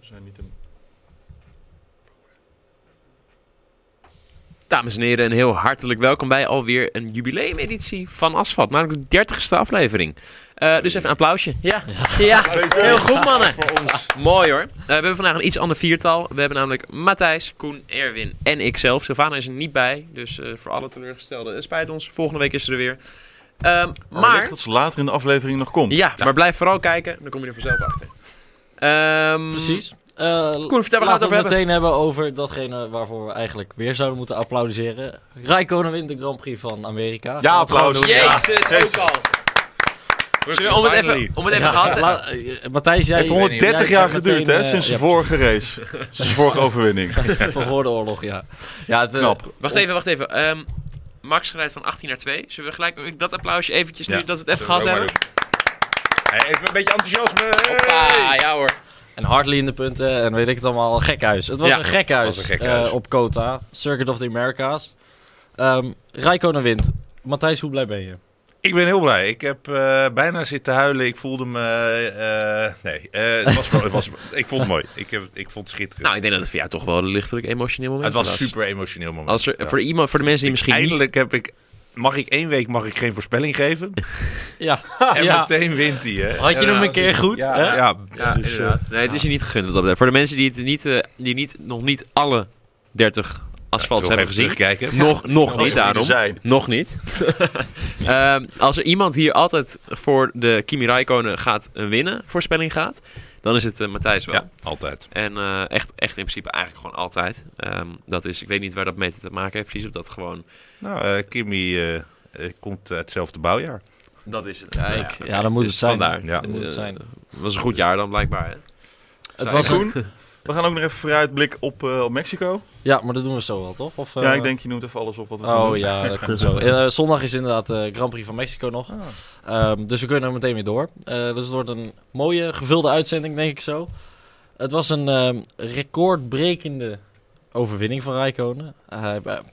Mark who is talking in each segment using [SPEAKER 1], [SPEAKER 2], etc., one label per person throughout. [SPEAKER 1] We zijn niet een...
[SPEAKER 2] Dames en heren, een heel hartelijk welkom bij alweer een jubileumeditie van Asfalt. Namelijk de 30ste aflevering. Eh, dus even een applausje. Ja, ja. heel goed mannen.
[SPEAKER 1] Voor ons.
[SPEAKER 2] Mooi hoor. Eh, we hebben vandaag een iets ander viertal. We hebben namelijk Matthijs, Koen, Erwin en ikzelf. Sylvana is er niet bij, dus eh, voor alle teleurgestelden, het spijt ons. Volgende week is ze er weer. Ehm, maar,
[SPEAKER 1] Wellicht dat ze later in de aflevering nog komt.
[SPEAKER 2] ja, maar blijf vooral kijken, dan kom je er vanzelf achter. Ehm,
[SPEAKER 3] Precies. Eh,
[SPEAKER 2] Koen, vertel, waar gaan we het
[SPEAKER 3] laten
[SPEAKER 2] over hebben?
[SPEAKER 3] meteen hebben over datgene waarvoor we eigenlijk weer zouden moeten applaudisseren. Raikkonen wint de Grand Prix van Amerika. Gaan we het
[SPEAKER 1] applaus.
[SPEAKER 3] gewoon doen.
[SPEAKER 2] Jezus,
[SPEAKER 1] Ja.
[SPEAKER 2] ook al. Zullen we om het even, om het even
[SPEAKER 3] Ja,
[SPEAKER 2] gehad te-
[SPEAKER 3] la- eh, Matthijs, jij...
[SPEAKER 1] Het heeft 130
[SPEAKER 3] jij
[SPEAKER 1] jaar
[SPEAKER 3] bent
[SPEAKER 1] geduurd,
[SPEAKER 3] meteen,
[SPEAKER 1] hè?
[SPEAKER 3] eh,
[SPEAKER 1] Sinds de
[SPEAKER 3] ja,
[SPEAKER 1] vorige race. Sinds de vorige overwinning.
[SPEAKER 3] van voor de oorlog, ja. ja het, eh,
[SPEAKER 1] Knap.
[SPEAKER 2] Wacht even, wacht even. Ehm, Max rijdt van 18 naar 2. Zullen we gelijk ook dat applausje eventjes nu
[SPEAKER 1] Ja,
[SPEAKER 2] dat we het even gehad hebben?
[SPEAKER 1] Even een beetje enthousiasme.
[SPEAKER 2] Ah, ja hoor.
[SPEAKER 3] En Hartley in de punten en weet ik het allemaal. Gekhuis. Het was
[SPEAKER 2] Ja,
[SPEAKER 3] een gekhuis,
[SPEAKER 4] was een gekhuis.
[SPEAKER 3] eh, op Kota. Circuit of the Americas. Ehm Raikkonen wint. Matthijs, hoe blij ben je?
[SPEAKER 4] Ik ben heel blij. Ik heb eh, bijna zitten huilen. Ik voelde me. eh, nee, eh, het was, wel- het was, ik vond het mooi. Ik, heb, ik vond het schitterend.
[SPEAKER 2] Nou, ik denk dat het voor jou toch wel een lichtelijk emotioneel moment
[SPEAKER 4] het was een super emotioneel moment.
[SPEAKER 2] Als er,
[SPEAKER 4] Ja.
[SPEAKER 2] voor, iemand, voor de mensen die misschien
[SPEAKER 4] Eindelijk heb ik. Mag ik één week mag ik geen voorspelling geven?
[SPEAKER 3] Ja.
[SPEAKER 4] En
[SPEAKER 3] ja.
[SPEAKER 4] meteen wint hij. Hè?
[SPEAKER 3] Had je
[SPEAKER 4] Ja,
[SPEAKER 3] hem een keer goed?
[SPEAKER 4] Ja,
[SPEAKER 3] hè?
[SPEAKER 4] ja,
[SPEAKER 2] niet... Ja,
[SPEAKER 4] dus, eh,
[SPEAKER 2] inderdaad. nee, het is je niet gegund. wat dat betreft. Voor de mensen die, het niet, eh, die niet, nog niet alle 30 asfalts
[SPEAKER 4] toch
[SPEAKER 2] hebben
[SPEAKER 4] even
[SPEAKER 2] gezien.
[SPEAKER 4] terugkijken.
[SPEAKER 2] Nog, nog
[SPEAKER 1] Als
[SPEAKER 2] niet
[SPEAKER 1] we er
[SPEAKER 2] daarom.
[SPEAKER 1] zijn.
[SPEAKER 2] Nog niet. Ehm, als er iemand hier altijd voor de Kimi Räikkönen gaat eh, winnen, voorspelling gaat, dan is het eh, Matthijs wel.
[SPEAKER 4] Ja, altijd.
[SPEAKER 2] En eh, echt, echt in principe eigenlijk gewoon altijd. Ehm, dat is, ik weet niet waar dat mee te maken heeft precies. Of dat gewoon,
[SPEAKER 4] Nou, eh, Kimmy eh, eh, komt uit hetzelfde bouwjaar.
[SPEAKER 2] dat is het.
[SPEAKER 3] Kijk,
[SPEAKER 2] oké.
[SPEAKER 3] ja, Dus- dan moet
[SPEAKER 2] Dus
[SPEAKER 3] het zijn.
[SPEAKER 2] Vandaar.
[SPEAKER 4] Ja.
[SPEAKER 3] Dan moet het zijn.
[SPEAKER 2] was een goed jaar dan blijkbaar. Hè?
[SPEAKER 3] Het
[SPEAKER 2] Zou
[SPEAKER 3] was een...
[SPEAKER 1] Koen, we gaan ook nog even vooruitblik op, eh, op Mexico.
[SPEAKER 3] Ja, maar dat doen we zo wel, toch? Of,
[SPEAKER 1] ja,
[SPEAKER 3] eh,
[SPEAKER 1] ik denk, je noemt even alles op wat we gaan
[SPEAKER 3] Oh
[SPEAKER 1] doen.
[SPEAKER 3] ja, dat komt zo. Eh, zondag is inderdaad de Grand Prix van Mexico nog.
[SPEAKER 1] Ah.
[SPEAKER 3] Ehm, dus we kunnen er meteen weer door. Eh, dus het wordt een mooie, gevulde uitzending, denk ik zo. Het was een ehm, recordbrekende overwinning van Eh, Rijkonen.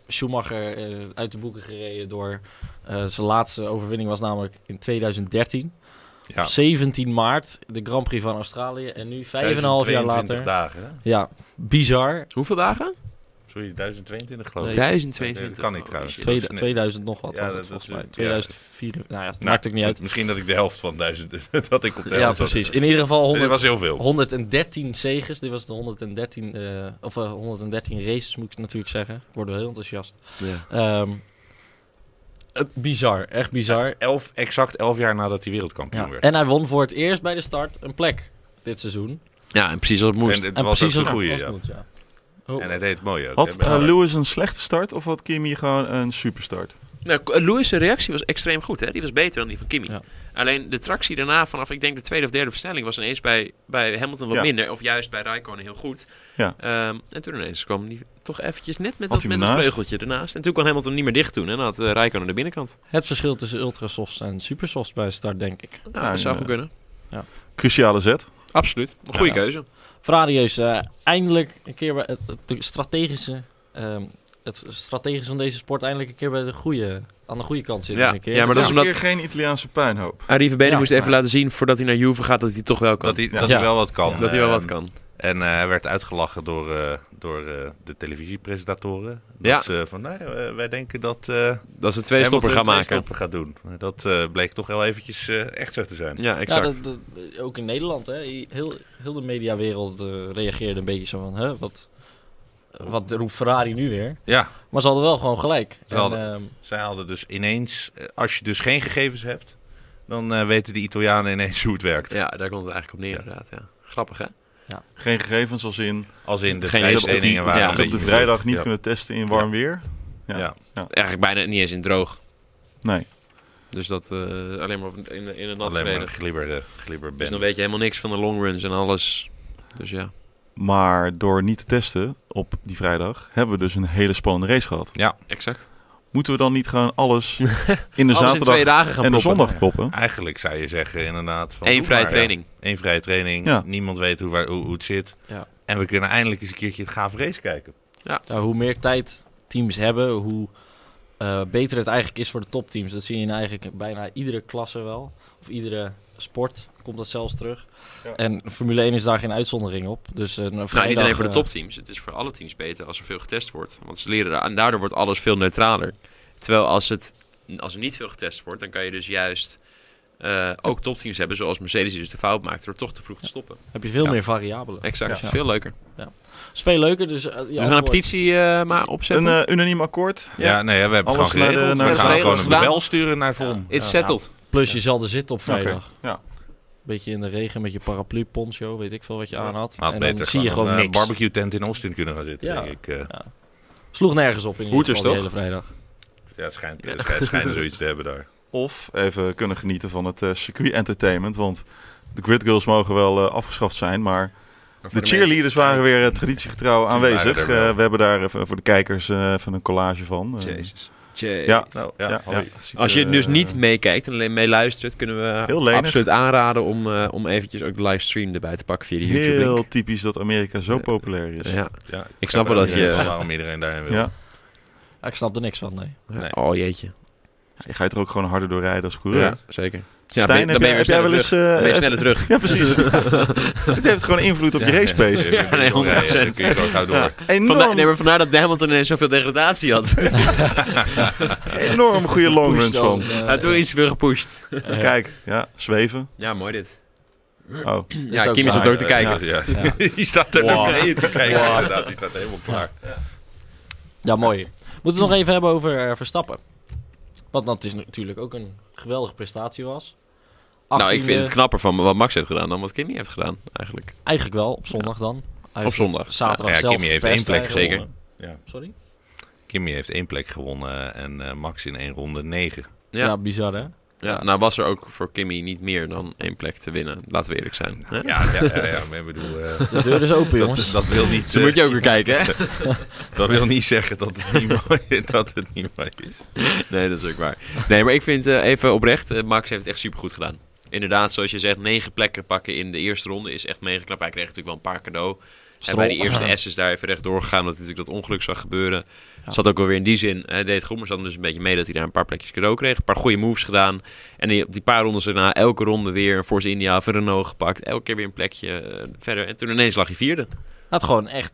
[SPEAKER 3] Schumacher eh, uit de boeken gereden door... eh, zijn laatste overwinning was namelijk in 2013.
[SPEAKER 4] Ja.
[SPEAKER 3] 17 maart, de Grand Prix van Australië. En nu, 5,5 jaar
[SPEAKER 4] 1022
[SPEAKER 3] later...
[SPEAKER 4] dagen. Hè?
[SPEAKER 3] Ja, bizar.
[SPEAKER 2] Hoeveel dagen?
[SPEAKER 4] Sorry, 1022 geloof ik.
[SPEAKER 2] 1022.
[SPEAKER 4] Dat kan niet trouwens.
[SPEAKER 2] shit.
[SPEAKER 4] Dat is
[SPEAKER 3] Tweede-
[SPEAKER 4] net-
[SPEAKER 3] 2000 nog wat
[SPEAKER 4] Ja,
[SPEAKER 3] was
[SPEAKER 4] dat
[SPEAKER 3] het
[SPEAKER 4] is
[SPEAKER 3] volgens
[SPEAKER 4] net-
[SPEAKER 3] mij.
[SPEAKER 4] ja.
[SPEAKER 3] 2004, nou ja, het
[SPEAKER 4] Nou,
[SPEAKER 3] maakt ook niet uit.
[SPEAKER 4] Misschien dat ik de helft van 1000. dat ik op de helft
[SPEAKER 3] Ja,
[SPEAKER 4] zat.
[SPEAKER 3] precies. In ieder geval
[SPEAKER 4] Dit
[SPEAKER 3] 100,
[SPEAKER 4] was heel veel.
[SPEAKER 3] 113 zegens. Dit was de 113, eh, of, eh, 113 races, moet ik natuurlijk zeggen. Worden we heel enthousiast.
[SPEAKER 2] Ja.
[SPEAKER 3] Ehm, eh, bizar, echt bizar.
[SPEAKER 4] Elf, exact elf jaar nadat hij wereldkampioen
[SPEAKER 3] Ja.
[SPEAKER 4] werd.
[SPEAKER 3] En hij won voor het eerst bij de start een plek dit seizoen.
[SPEAKER 2] ja, en precies als het moest.
[SPEAKER 4] En het
[SPEAKER 3] en
[SPEAKER 4] was ook
[SPEAKER 3] precies
[SPEAKER 4] de
[SPEAKER 3] wat
[SPEAKER 4] goede,
[SPEAKER 3] het
[SPEAKER 4] ja.
[SPEAKER 3] was moet, ja. Oh.
[SPEAKER 4] En hij deed het mooi ook.
[SPEAKER 1] Had
[SPEAKER 4] hè,
[SPEAKER 1] eh,
[SPEAKER 4] met-
[SPEAKER 1] Lewis een slechte start of had Kimi gewoon een superstart?
[SPEAKER 2] Nou, K- Lewis' reactie was extreem goed. Hè? Die was beter dan die van Kimi.
[SPEAKER 3] Ja.
[SPEAKER 2] Alleen de tractie daarna vanaf, ik denk, de tweede of derde versnelling... was ineens bij, bij Hamilton wat
[SPEAKER 1] Ja.
[SPEAKER 2] minder. Of juist bij Raikkonen heel goed.
[SPEAKER 1] Ja.
[SPEAKER 2] Ehm, en toen ineens kwam die toch eventjes net
[SPEAKER 1] Had
[SPEAKER 2] met, dat,
[SPEAKER 1] hij
[SPEAKER 2] met
[SPEAKER 1] hem
[SPEAKER 2] dat
[SPEAKER 1] naast?
[SPEAKER 2] vleugeltje ernaast. En toen kon Hamilton hem niet meer dicht doen. En dan had eh, Raikkonen de binnenkant.
[SPEAKER 3] Het verschil tussen ultrasofts en supersofts bij de start, denk ik.
[SPEAKER 2] Nou,
[SPEAKER 1] Ja,
[SPEAKER 2] dat zou
[SPEAKER 1] en,
[SPEAKER 2] goed kunnen.
[SPEAKER 1] Cruciale zet.
[SPEAKER 2] Absoluut. Een goede
[SPEAKER 3] ja.
[SPEAKER 2] keuze.
[SPEAKER 3] Fradieus, eh eindelijk een keer bij het, het strategische... ehm, het strategische van deze sport eindelijk een keer bij de goede, aan de goede kant zitten.
[SPEAKER 2] Ja.
[SPEAKER 3] een keer.
[SPEAKER 2] Ja, maar
[SPEAKER 1] Dit
[SPEAKER 2] dat is
[SPEAKER 1] is
[SPEAKER 2] omdat-
[SPEAKER 1] een keer geen Italiaanse puinhoop.
[SPEAKER 2] Arie Verbenen
[SPEAKER 3] Ja,
[SPEAKER 2] moest even
[SPEAKER 3] maar-
[SPEAKER 2] laten zien voordat hij naar Juve gaat dat hij toch wel kan.
[SPEAKER 4] Dat
[SPEAKER 2] Dat
[SPEAKER 4] hij,
[SPEAKER 1] Ja.
[SPEAKER 4] dat
[SPEAKER 3] Ja.
[SPEAKER 4] hij wel wat kan.
[SPEAKER 2] hij, wel wat
[SPEAKER 4] Ehm,
[SPEAKER 2] kan.
[SPEAKER 4] En eh, hij werd uitgelachen door, eh, door eh, de televisiepresentatoren. Dat
[SPEAKER 2] Ja.
[SPEAKER 4] ze van, nou, eh, wij denken dat... eh
[SPEAKER 2] Dat ze een twee stopper gaan
[SPEAKER 4] Hamilton
[SPEAKER 2] maken.
[SPEAKER 4] twee stoppen gaat doen. Dat eh, bleek toch wel eventjes eh, echt zo te zijn.
[SPEAKER 2] Ja,
[SPEAKER 3] Ja,
[SPEAKER 2] exact.
[SPEAKER 3] dat, dat- ook in Nederland, hè. Heel, heel de mediawereld eh, reageerde een beetje zo van, hè, wat, wat roept Ferrari nu weer?
[SPEAKER 4] Ja,
[SPEAKER 3] Maar ze hadden wel gewoon gelijk.
[SPEAKER 4] Ze
[SPEAKER 3] En,
[SPEAKER 4] hadden-
[SPEAKER 3] ehm,
[SPEAKER 4] zij hadden dus ineens... eh, als je dus geen gegevens hebt, dan eh, weten de Italianen ineens hoe het werkt.
[SPEAKER 2] Ja, daar komt het eigenlijk op neer
[SPEAKER 4] Ja.
[SPEAKER 2] inderdaad. Ja. Grappig, hè?
[SPEAKER 1] Geen gegevens als in...
[SPEAKER 4] Als in de
[SPEAKER 2] Geen idee of dat
[SPEAKER 4] vrijstellingen
[SPEAKER 2] die-
[SPEAKER 4] waren
[SPEAKER 2] ja.
[SPEAKER 4] een
[SPEAKER 1] ik heb
[SPEAKER 4] beetje
[SPEAKER 1] op de vrijdag
[SPEAKER 4] verzet.
[SPEAKER 1] niet
[SPEAKER 4] Ja.
[SPEAKER 1] kunnen testen in warm weer. Ja.
[SPEAKER 4] Ja.
[SPEAKER 2] Eigenlijk bijna niet eens in droog.
[SPEAKER 1] Nee.
[SPEAKER 2] Dus dat eh, alleen maar op, in, in een nat
[SPEAKER 4] Alleen maar
[SPEAKER 2] verleden.
[SPEAKER 4] glibber, eh, glibber
[SPEAKER 2] Dus
[SPEAKER 4] ben.
[SPEAKER 2] dan weet je helemaal niks van de longruns en alles. Dus ja.
[SPEAKER 1] Maar door niet te testen op die vrijdag hebben we dus een hele spannende race gehad.
[SPEAKER 2] Exact.
[SPEAKER 1] Moeten we dan niet gewoon alles in de
[SPEAKER 2] Alles in
[SPEAKER 1] zaterdag
[SPEAKER 2] twee dagen gaan
[SPEAKER 1] en de
[SPEAKER 2] proppen.
[SPEAKER 1] zondag proppen?
[SPEAKER 4] Eigenlijk zou je zeggen inderdaad... Van,
[SPEAKER 2] Eén
[SPEAKER 4] doe
[SPEAKER 2] vrije
[SPEAKER 4] maar, ja.
[SPEAKER 2] training.
[SPEAKER 4] Eén vrije training.
[SPEAKER 1] Ja.
[SPEAKER 4] Niemand weet hoe, waar, hoe, hoe het zit.
[SPEAKER 3] Ja.
[SPEAKER 4] En we kunnen eindelijk eens een keertje het gave race kijken.
[SPEAKER 3] nou, hoe meer tijd teams hebben, hoe eh, beter het eigenlijk is voor de topteams. Dat zie je in eigenlijk bijna iedere klasse wel. Of iedere sport. komt dat zelfs terug. En Formule 1 is daar geen uitzondering op. Dus een
[SPEAKER 2] Nou, niet
[SPEAKER 3] vrijdag,
[SPEAKER 2] alleen voor de
[SPEAKER 3] eh,
[SPEAKER 2] topteams. Het is voor alle teams beter als er veel getest wordt. Want ze leren daar. En daardoor wordt alles veel neutraler. Terwijl als, het, als er niet veel getest wordt, dan kan je dus juist eh, ook topteams hebben. Zoals Mercedes die dus de fout maakt door toch te vroeg te stoppen.
[SPEAKER 3] heb je veel
[SPEAKER 4] Ja.
[SPEAKER 3] meer variabelen.
[SPEAKER 2] Exact.
[SPEAKER 3] Ja.
[SPEAKER 2] Veel leuker.
[SPEAKER 3] Het is veel leuker. Dus, eh,
[SPEAKER 2] We
[SPEAKER 3] ja,
[SPEAKER 2] gaan een
[SPEAKER 3] antwoord.
[SPEAKER 2] petitie eh, maar
[SPEAKER 1] Een
[SPEAKER 2] opzetten.
[SPEAKER 1] eh, unaniem akkoord.
[SPEAKER 4] Ja, nee, we hebben
[SPEAKER 1] Alles
[SPEAKER 4] gewoon
[SPEAKER 1] naar de-
[SPEAKER 4] geregeld.
[SPEAKER 1] naar
[SPEAKER 4] we
[SPEAKER 1] de
[SPEAKER 4] gaan
[SPEAKER 2] regels
[SPEAKER 4] gewoon een
[SPEAKER 2] gedaan.
[SPEAKER 4] bevel sturen naar Vorm.
[SPEAKER 2] It's settled.
[SPEAKER 3] Plus je zal er zitten op vrijdag.
[SPEAKER 1] Oké, ja.
[SPEAKER 3] Beetje in de regen met je paraplu poncho, weet ik veel wat je aan had.
[SPEAKER 4] Had
[SPEAKER 3] en
[SPEAKER 4] beter
[SPEAKER 3] dan zie je gewoon
[SPEAKER 4] een eh,
[SPEAKER 3] niks.
[SPEAKER 4] barbecue tent in Austin kunnen gaan zitten,
[SPEAKER 3] Ja.
[SPEAKER 4] denk ik. eh.
[SPEAKER 3] Sloeg nergens op in ieder
[SPEAKER 2] Hoeters,
[SPEAKER 3] geval die hele
[SPEAKER 2] toch?
[SPEAKER 3] vrijdag.
[SPEAKER 4] ja, het schijnt, het schijnt- schijnen zoiets te hebben daar.
[SPEAKER 1] Of even kunnen genieten van het eh, circuit entertainment. Want de Grid Girls mogen wel eh, afgeschaft zijn, maar de cheerleaders waren weer eh, traditiegetrouw aanwezig.
[SPEAKER 4] waren er wel.
[SPEAKER 1] Eh, we hebben daar even voor de kijkers eh, even een collage van. Eh, Ja,
[SPEAKER 4] Nou,
[SPEAKER 1] ja,
[SPEAKER 4] ja,
[SPEAKER 1] ja,
[SPEAKER 4] hoi.
[SPEAKER 1] het ziet
[SPEAKER 2] Als je
[SPEAKER 1] er,
[SPEAKER 2] dus
[SPEAKER 1] eh,
[SPEAKER 2] niet meekijkt en alleen meeluistert, kunnen
[SPEAKER 1] Heel
[SPEAKER 2] we
[SPEAKER 1] lenig.
[SPEAKER 2] absoluut aanraden om, eh, om eventjes ook de livestream erbij te pakken via de YouTube.
[SPEAKER 1] Heel
[SPEAKER 2] link. Eh,
[SPEAKER 1] typisch dat Amerika zo populair is.
[SPEAKER 2] Ja.
[SPEAKER 4] Ja,
[SPEAKER 2] Ik snap wel dat
[SPEAKER 4] begrijp
[SPEAKER 2] je-
[SPEAKER 4] wel waarom iedereen daarheen wil.
[SPEAKER 1] Ja.
[SPEAKER 3] Ja, ik snap er niks van, nee.
[SPEAKER 4] Nee.
[SPEAKER 2] Oh jeetje.
[SPEAKER 1] Ja, je gaat er ook gewoon harder door rijden als coureur.
[SPEAKER 2] Ja, zeker. Ja,
[SPEAKER 1] Stijn,
[SPEAKER 2] ben- dan ben je weer
[SPEAKER 1] heb, jij, heb jij
[SPEAKER 2] sneller
[SPEAKER 1] wel eens...
[SPEAKER 2] terug. Dan
[SPEAKER 1] eh,
[SPEAKER 2] ben je
[SPEAKER 1] echt-
[SPEAKER 2] sneller terug.
[SPEAKER 1] Ja, precies. Het heeft gewoon invloed op je race pace.
[SPEAKER 4] Ja,
[SPEAKER 2] nee,
[SPEAKER 4] ja,
[SPEAKER 2] 100%.
[SPEAKER 4] dan kun je gewoon gauw door.
[SPEAKER 1] Enorm,
[SPEAKER 2] Vandaar, nee, maar vandaar dat Hamilton ineens zoveel degradatie had. Hij
[SPEAKER 1] enorm goede longruns
[SPEAKER 3] Pusht als
[SPEAKER 1] van.
[SPEAKER 3] een, eh,
[SPEAKER 2] had toen iets weer gepusht.
[SPEAKER 3] eh,
[SPEAKER 1] Kijk, ja, zweven.
[SPEAKER 2] Ja, mooi dit.
[SPEAKER 1] Oh,
[SPEAKER 3] is
[SPEAKER 2] Ja,
[SPEAKER 3] ook
[SPEAKER 2] Kim is
[SPEAKER 3] saai.
[SPEAKER 2] op ook te kijken.
[SPEAKER 4] Ja, ja. Die staat er
[SPEAKER 2] Wow.
[SPEAKER 4] nog mee te kijken. Inderdaad, die staat helemaal klaar.
[SPEAKER 3] Ja, mooi. Moeten we het nog even hebben over eh, Verstappen. Want dat is natuurlijk ook een geweldige prestatie was.
[SPEAKER 2] Nou, ik
[SPEAKER 3] 18e,
[SPEAKER 2] vind het knapper van wat Max heeft gedaan dan wat Kimmy heeft gedaan, eigenlijk.
[SPEAKER 3] Eigenlijk wel, op zondag dan. Hij
[SPEAKER 2] Op
[SPEAKER 3] heeft
[SPEAKER 2] zondag.
[SPEAKER 3] het Zaterdag
[SPEAKER 4] Ja,
[SPEAKER 3] zelf
[SPEAKER 4] Kimmy heeft één
[SPEAKER 3] verpest
[SPEAKER 4] plek
[SPEAKER 3] eigenlijk.
[SPEAKER 2] zeker.
[SPEAKER 4] gewonnen.
[SPEAKER 3] Sorry?
[SPEAKER 4] Kimmy heeft één plek gewonnen en eh, Max in één ronde negen.
[SPEAKER 2] Ja.
[SPEAKER 3] Ja. bizar hè?
[SPEAKER 2] Ja, nou was er ook voor Kimmy niet meer dan één plek te winnen. Laten we eerlijk zijn. hè? Dus
[SPEAKER 4] Ja, ja, ja, ja maar ik bedoel, eh,
[SPEAKER 3] De deur is open, jongens.
[SPEAKER 4] dat, dat, wil niet,
[SPEAKER 2] Zo
[SPEAKER 4] eh,
[SPEAKER 2] moet je ook weer kijken, hè?
[SPEAKER 4] dat wil niet zeggen dat het niet mooi, dat het niet mooi is.
[SPEAKER 2] Nee, dat is ook waar. Nee, maar ik vind eh, even oprecht, eh, Max heeft het echt supergoed gedaan. Inderdaad, zoals je zegt, negen plekken pakken in de eerste ronde is echt meegeknapt. Hij kreeg natuurlijk wel een paar cadeau. En
[SPEAKER 3] Strol.
[SPEAKER 2] bij die eerste S is daar even recht doorgegaan, omdat natuurlijk dat ongeluk zag gebeuren. Zat ook alweer in die zin, hij deed het goed, maar zat hem dus een beetje mee dat hij daar een paar plekjes cadeau kreeg. Een paar goede moves gedaan. En die, op die paar rondes daarna, elke ronde weer een Force India of een Renault gepakt. Elke keer weer een plekje eh, verder. En toen ineens lag hij vierde.
[SPEAKER 3] Had gewoon echt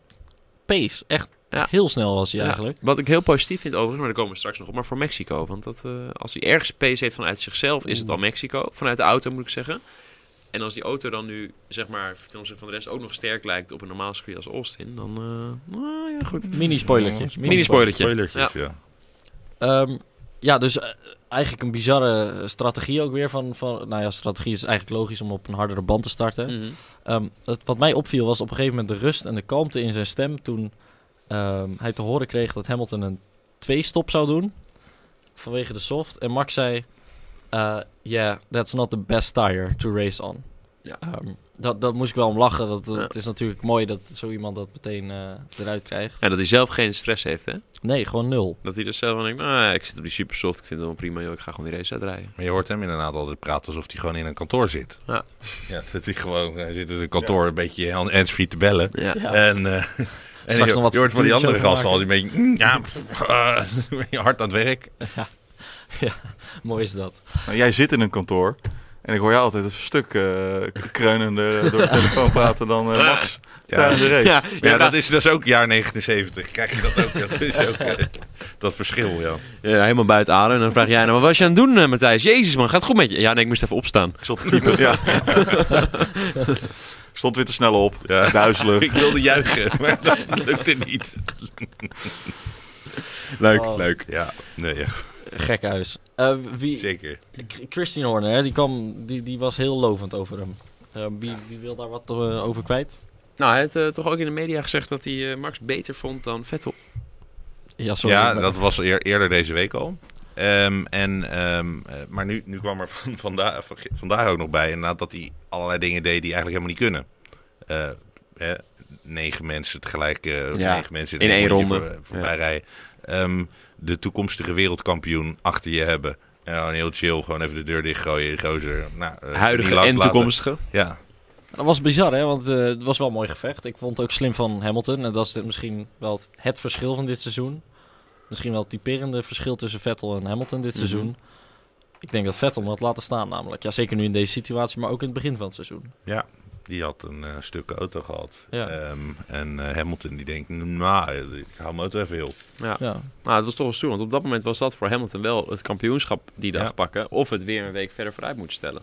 [SPEAKER 3] pace. Echt
[SPEAKER 2] Ja.
[SPEAKER 3] heel snel was hij
[SPEAKER 2] Ja,
[SPEAKER 3] eigenlijk.
[SPEAKER 2] Wat ik heel positief vind overigens, maar daar komen we straks nog op, maar voor Mexico. Want dat, eh, als hij ergens pace heeft vanuit zichzelf, is het al Mexico. Vanuit de auto moet ik zeggen. En als die auto dan nu, zeg maar, ten opzichte van de rest ook nog sterk lijkt op een normaal circuit als Austin, dan... eh, nou ja, goed.
[SPEAKER 3] Mini-spoilertje.
[SPEAKER 2] Mini-spoilertje.
[SPEAKER 4] Spoilertjes, ja.
[SPEAKER 3] Ehm, ja, dus eh, eigenlijk een bizarre strategie ook weer van, van... Nou ja, strategie is eigenlijk logisch om op een hardere band te starten.
[SPEAKER 2] Mhm.
[SPEAKER 3] Ehm, het, wat mij opviel was op een gegeven moment de rust en de kalmte in zijn stem toen ehm, hij te horen kreeg dat Hamilton een twee-stop zou doen vanwege de soft. En Max zei, eh, yeah, that's not the best tire to race on.
[SPEAKER 2] Ja.
[SPEAKER 3] Ehm, dat, dat moest ik wel om lachen. Dat, dat
[SPEAKER 2] Ja.
[SPEAKER 3] Het is natuurlijk mooi dat zo iemand dat meteen eh, eruit krijgt.
[SPEAKER 2] En dat hij zelf geen stress heeft, hè?
[SPEAKER 3] Nee, gewoon nul.
[SPEAKER 2] Dat hij dus zelf van denkt, nou ja, ik zit op die supersoft, ik vind het wel prima, joh, ik ga gewoon die race uitrijden.
[SPEAKER 4] Maar je hoort hem inderdaad altijd praten alsof hij gewoon in een kantoor zit.
[SPEAKER 2] Ja.
[SPEAKER 4] Ja, dat hij gewoon, hij zit in een kantoor een beetje aan handsfree te bellen.
[SPEAKER 2] Ja.
[SPEAKER 3] Ja.
[SPEAKER 4] En, eh, en je,
[SPEAKER 3] nog wat
[SPEAKER 4] je hoort van die andere
[SPEAKER 3] verdoemd
[SPEAKER 4] gasten al die een beetje, mm, ja, pff, eh, hard aan het werk.
[SPEAKER 3] Mooi is dat.
[SPEAKER 1] Nou, jij zit in een kantoor en ik hoor jou altijd een stuk eh, kreunender door de telefoon praten dan eh, Max tijdens de race.
[SPEAKER 2] Ja,
[SPEAKER 4] Maar ja,
[SPEAKER 2] ja,
[SPEAKER 4] dat is, dat is ook jaar 1970. Krijg je dat ook? Dat is ook eh, dat verschil, ja.
[SPEAKER 2] ja, helemaal buiten adem. En dan vraag jij, nou, wat was je aan het doen, eh, Matthijs? Jezus, man, gaat het goed met je? Ja, nee, ik moest even opstaan.
[SPEAKER 1] Ik zat te typen, ja. Ik stond weer te snel op,
[SPEAKER 4] Ja.
[SPEAKER 1] duizelig.
[SPEAKER 4] Ik wilde juichen, maar dat lukte niet. leuk,
[SPEAKER 3] Oh.
[SPEAKER 4] leuk. Ja, nee, ja,
[SPEAKER 3] Gek huis. Eh, wie,
[SPEAKER 4] zeker.
[SPEAKER 3] K- Christian Horner, hè, die, kwam, die, die was heel lovend over hem. Eh, wie, wie wil daar wat eh, over kwijt?
[SPEAKER 2] Nou, hij heeft eh, toch ook in de media gezegd dat hij eh, Max beter vond dan Vettel.
[SPEAKER 3] Ja, sorry.
[SPEAKER 4] ja,
[SPEAKER 3] maar-
[SPEAKER 4] dat was eer- eerder deze week al. Ehm, en, ehm, eh, maar nu, nu kwam er van, vanda- van- vandaag ook nog bij inderdaad dat hij allerlei dingen deed die eigenlijk helemaal niet kunnen. Eh, hè, negen mensen tegelijk, eh,
[SPEAKER 2] Ja,
[SPEAKER 4] negen mensen
[SPEAKER 2] in één
[SPEAKER 4] rondje
[SPEAKER 2] ronde.
[SPEAKER 4] voor- voorbij rijden. Ehm, de toekomstige wereldkampioen achter je hebben. En dan heel chill, gewoon even de deur dichtgooien, die gozer. Nou, eh, niet
[SPEAKER 2] Huidige
[SPEAKER 4] lang
[SPEAKER 2] en
[SPEAKER 4] laten.
[SPEAKER 2] toekomstige.
[SPEAKER 4] Ja,
[SPEAKER 3] Dat was bizar, hè? Want eh, het was wel een mooi gevecht. Ik vond het ook slim van Hamilton. En dat is dit misschien wel het, het verschil van dit seizoen. Misschien wel het typerende verschil tussen Vettel en Hamilton dit
[SPEAKER 2] Mhm.
[SPEAKER 3] seizoen. Ik denk dat Vettel hem had laten staan namelijk. Ja, zeker nu in deze situatie, maar ook in het begin van het seizoen.
[SPEAKER 4] Ja, die had een eh, stuk auto gehad.
[SPEAKER 3] Ja.
[SPEAKER 4] Ehm, en eh, Hamilton die denkt, nou, ik hou mijn auto even heel.
[SPEAKER 2] Ja.
[SPEAKER 3] Ja,
[SPEAKER 2] Maar het was toch wel stoer, want op dat moment was dat voor Hamilton wel het kampioenschap die dag
[SPEAKER 4] Ja.
[SPEAKER 2] pakken. Of het weer een week verder vooruit moeten stellen.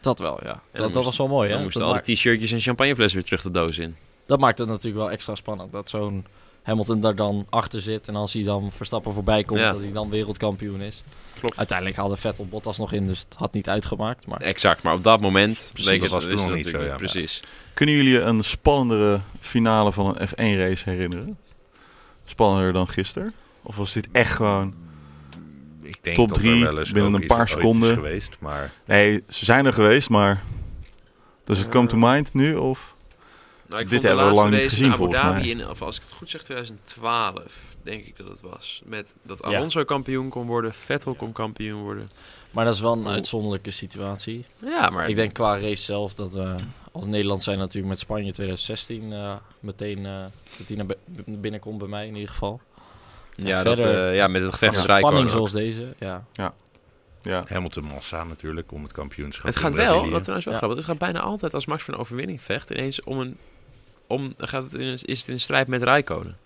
[SPEAKER 3] dat wel, ja. Dat, dat
[SPEAKER 2] moest-
[SPEAKER 3] was wel mooi, hè?
[SPEAKER 2] Dan moesten
[SPEAKER 3] dat,
[SPEAKER 2] al
[SPEAKER 3] maakt-
[SPEAKER 2] die t-shirtjes en champagneflessen weer terug de doos in.
[SPEAKER 3] dat maakt het natuurlijk wel extra spannend. Dat zo'n Hamilton daar dan achter zit. En als hij dan Verstappen voorbij komt,
[SPEAKER 2] Ja.
[SPEAKER 3] dat hij dan wereldkampioen is.
[SPEAKER 2] Klopt.
[SPEAKER 3] Uiteindelijk haalde Vettel Bottas nog in, dus het had niet uitgemaakt. Maar
[SPEAKER 2] Exact, maar op dat moment
[SPEAKER 4] Precies, dat was toen
[SPEAKER 2] wist
[SPEAKER 4] nog
[SPEAKER 2] het
[SPEAKER 4] niet zo,
[SPEAKER 2] natuurlijk
[SPEAKER 4] ja.
[SPEAKER 2] Precies.
[SPEAKER 1] Kunnen jullie je een spannendere finale van een F1-race herinneren? Spannender dan gisteren? Of was dit echt gewoon...
[SPEAKER 4] Ik denk
[SPEAKER 1] Top
[SPEAKER 4] dat er
[SPEAKER 1] drie
[SPEAKER 4] wel eens
[SPEAKER 1] binnen
[SPEAKER 4] ook
[SPEAKER 1] een
[SPEAKER 4] iets
[SPEAKER 1] paar
[SPEAKER 4] ooit is
[SPEAKER 1] seconden.
[SPEAKER 4] geweest, maar
[SPEAKER 1] Nee, ze zijn er geweest, maar... Dus het kwam to
[SPEAKER 3] Eh,
[SPEAKER 1] mind nu, of...
[SPEAKER 2] Nou,
[SPEAKER 1] Dit
[SPEAKER 2] ik vond de
[SPEAKER 1] hebben we
[SPEAKER 2] laatste
[SPEAKER 1] lang niet
[SPEAKER 2] race in
[SPEAKER 1] gezien,
[SPEAKER 2] Abu
[SPEAKER 1] volgens
[SPEAKER 2] Dhabi
[SPEAKER 1] mij.
[SPEAKER 2] In, of als ik het goed zeg, 2012 denk ik dat het was. Met dat
[SPEAKER 3] Ja.
[SPEAKER 2] Alonso kampioen kon worden, Vettel kon kampioen worden.
[SPEAKER 3] Maar dat is wel
[SPEAKER 2] Oh.
[SPEAKER 3] een uitzonderlijke situatie.
[SPEAKER 2] Ja, maar
[SPEAKER 3] Ik denk qua race zelf dat we als Nederland zijn natuurlijk met Spanje 2016 eh, meteen eh, dat die naar bi- binnenkomt bij mij in ieder geval.
[SPEAKER 2] ja,
[SPEAKER 3] en
[SPEAKER 2] dat,
[SPEAKER 3] verder-
[SPEAKER 2] eh, ja, met het gevecht
[SPEAKER 3] Echt
[SPEAKER 2] met
[SPEAKER 3] spanning
[SPEAKER 2] Rijkonen.
[SPEAKER 3] zoals deze. Ja.
[SPEAKER 1] Ja,
[SPEAKER 4] Hamilton massa natuurlijk om het kampioenschap
[SPEAKER 2] Het
[SPEAKER 4] in
[SPEAKER 2] gaat wel, dat
[SPEAKER 4] Brazilië.
[SPEAKER 2] trouwens wel
[SPEAKER 3] Ja.
[SPEAKER 2] grappig, want het gaat bijna altijd als Max voor een overwinning vecht, ineens om een, om, dan gaat het in, een- is het in een strijd met Rijkonen.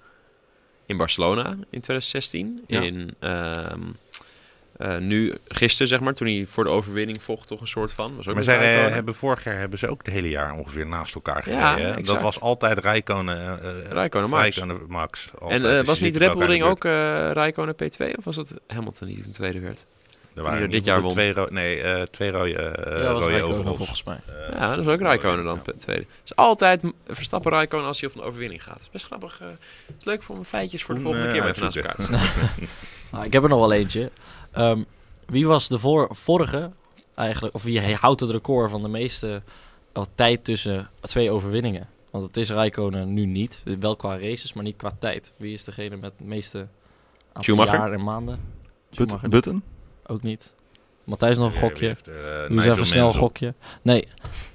[SPEAKER 2] In Barcelona in 2016,
[SPEAKER 1] Ja.
[SPEAKER 2] in, ehm, eh, nu gisteren zeg maar, toen hij voor de overwinning vocht toch een soort van. Was ook
[SPEAKER 4] Maar
[SPEAKER 2] met
[SPEAKER 4] zij eh,
[SPEAKER 2] Räikkönen.
[SPEAKER 4] hebben vorig jaar hebben ze ook het hele jaar ongeveer naast elkaar gereden.
[SPEAKER 2] Ja,
[SPEAKER 4] hè? dat
[SPEAKER 2] exact.
[SPEAKER 4] was altijd Rijkonen, eh
[SPEAKER 2] Rijkonen, Max.
[SPEAKER 4] Räikkönen, Max. Altijd.
[SPEAKER 2] En
[SPEAKER 4] Dus
[SPEAKER 2] eh,
[SPEAKER 4] die
[SPEAKER 2] was niet
[SPEAKER 4] zitten
[SPEAKER 2] Red
[SPEAKER 4] bij
[SPEAKER 2] Bull Ring
[SPEAKER 4] elkaar in
[SPEAKER 2] ook eh Rijkonen P2? Of was dat Hamilton die een tweede werd?
[SPEAKER 4] de buurt. Er waren
[SPEAKER 2] die er
[SPEAKER 4] in ieder
[SPEAKER 2] dit jaar
[SPEAKER 4] geval twee, ro- nee, eh, twee rode, eh,
[SPEAKER 3] dat was
[SPEAKER 4] rode
[SPEAKER 3] Räikkönen
[SPEAKER 4] overalls.
[SPEAKER 3] volgens mij.
[SPEAKER 4] Eh,
[SPEAKER 2] ja, dat is ook Rijkonen dan P- tweede. Dus altijd m- Verstappen Rijkonen als hij op een overwinning gaat. Dat is best grappig. eh, het is leuk voor mijn feitjes voor de
[SPEAKER 4] Toen,
[SPEAKER 2] volgende
[SPEAKER 4] eh,
[SPEAKER 2] keer maar even naast elkaar.
[SPEAKER 4] uitzoeken.
[SPEAKER 2] te zetten.
[SPEAKER 3] Ah, ik heb er nog wel eentje. Ehm, wie was de voor- vorige eigenlijk, of wie houdt het record van de meeste eh, tijd tussen twee overwinningen? Want het is Rijkonen nu niet. Wel qua races, maar niet qua tijd. Wie is degene met het meeste aantal
[SPEAKER 2] Schumacher?
[SPEAKER 3] jaar en maanden? Schumacher
[SPEAKER 1] But- Button?
[SPEAKER 3] ook niet. Matthijs nog een
[SPEAKER 4] wie
[SPEAKER 3] gokje.
[SPEAKER 4] heeft er, eh,
[SPEAKER 3] Doe eens
[SPEAKER 4] Nigel
[SPEAKER 3] even snel een
[SPEAKER 4] Mansell?
[SPEAKER 3] gokje. Nee,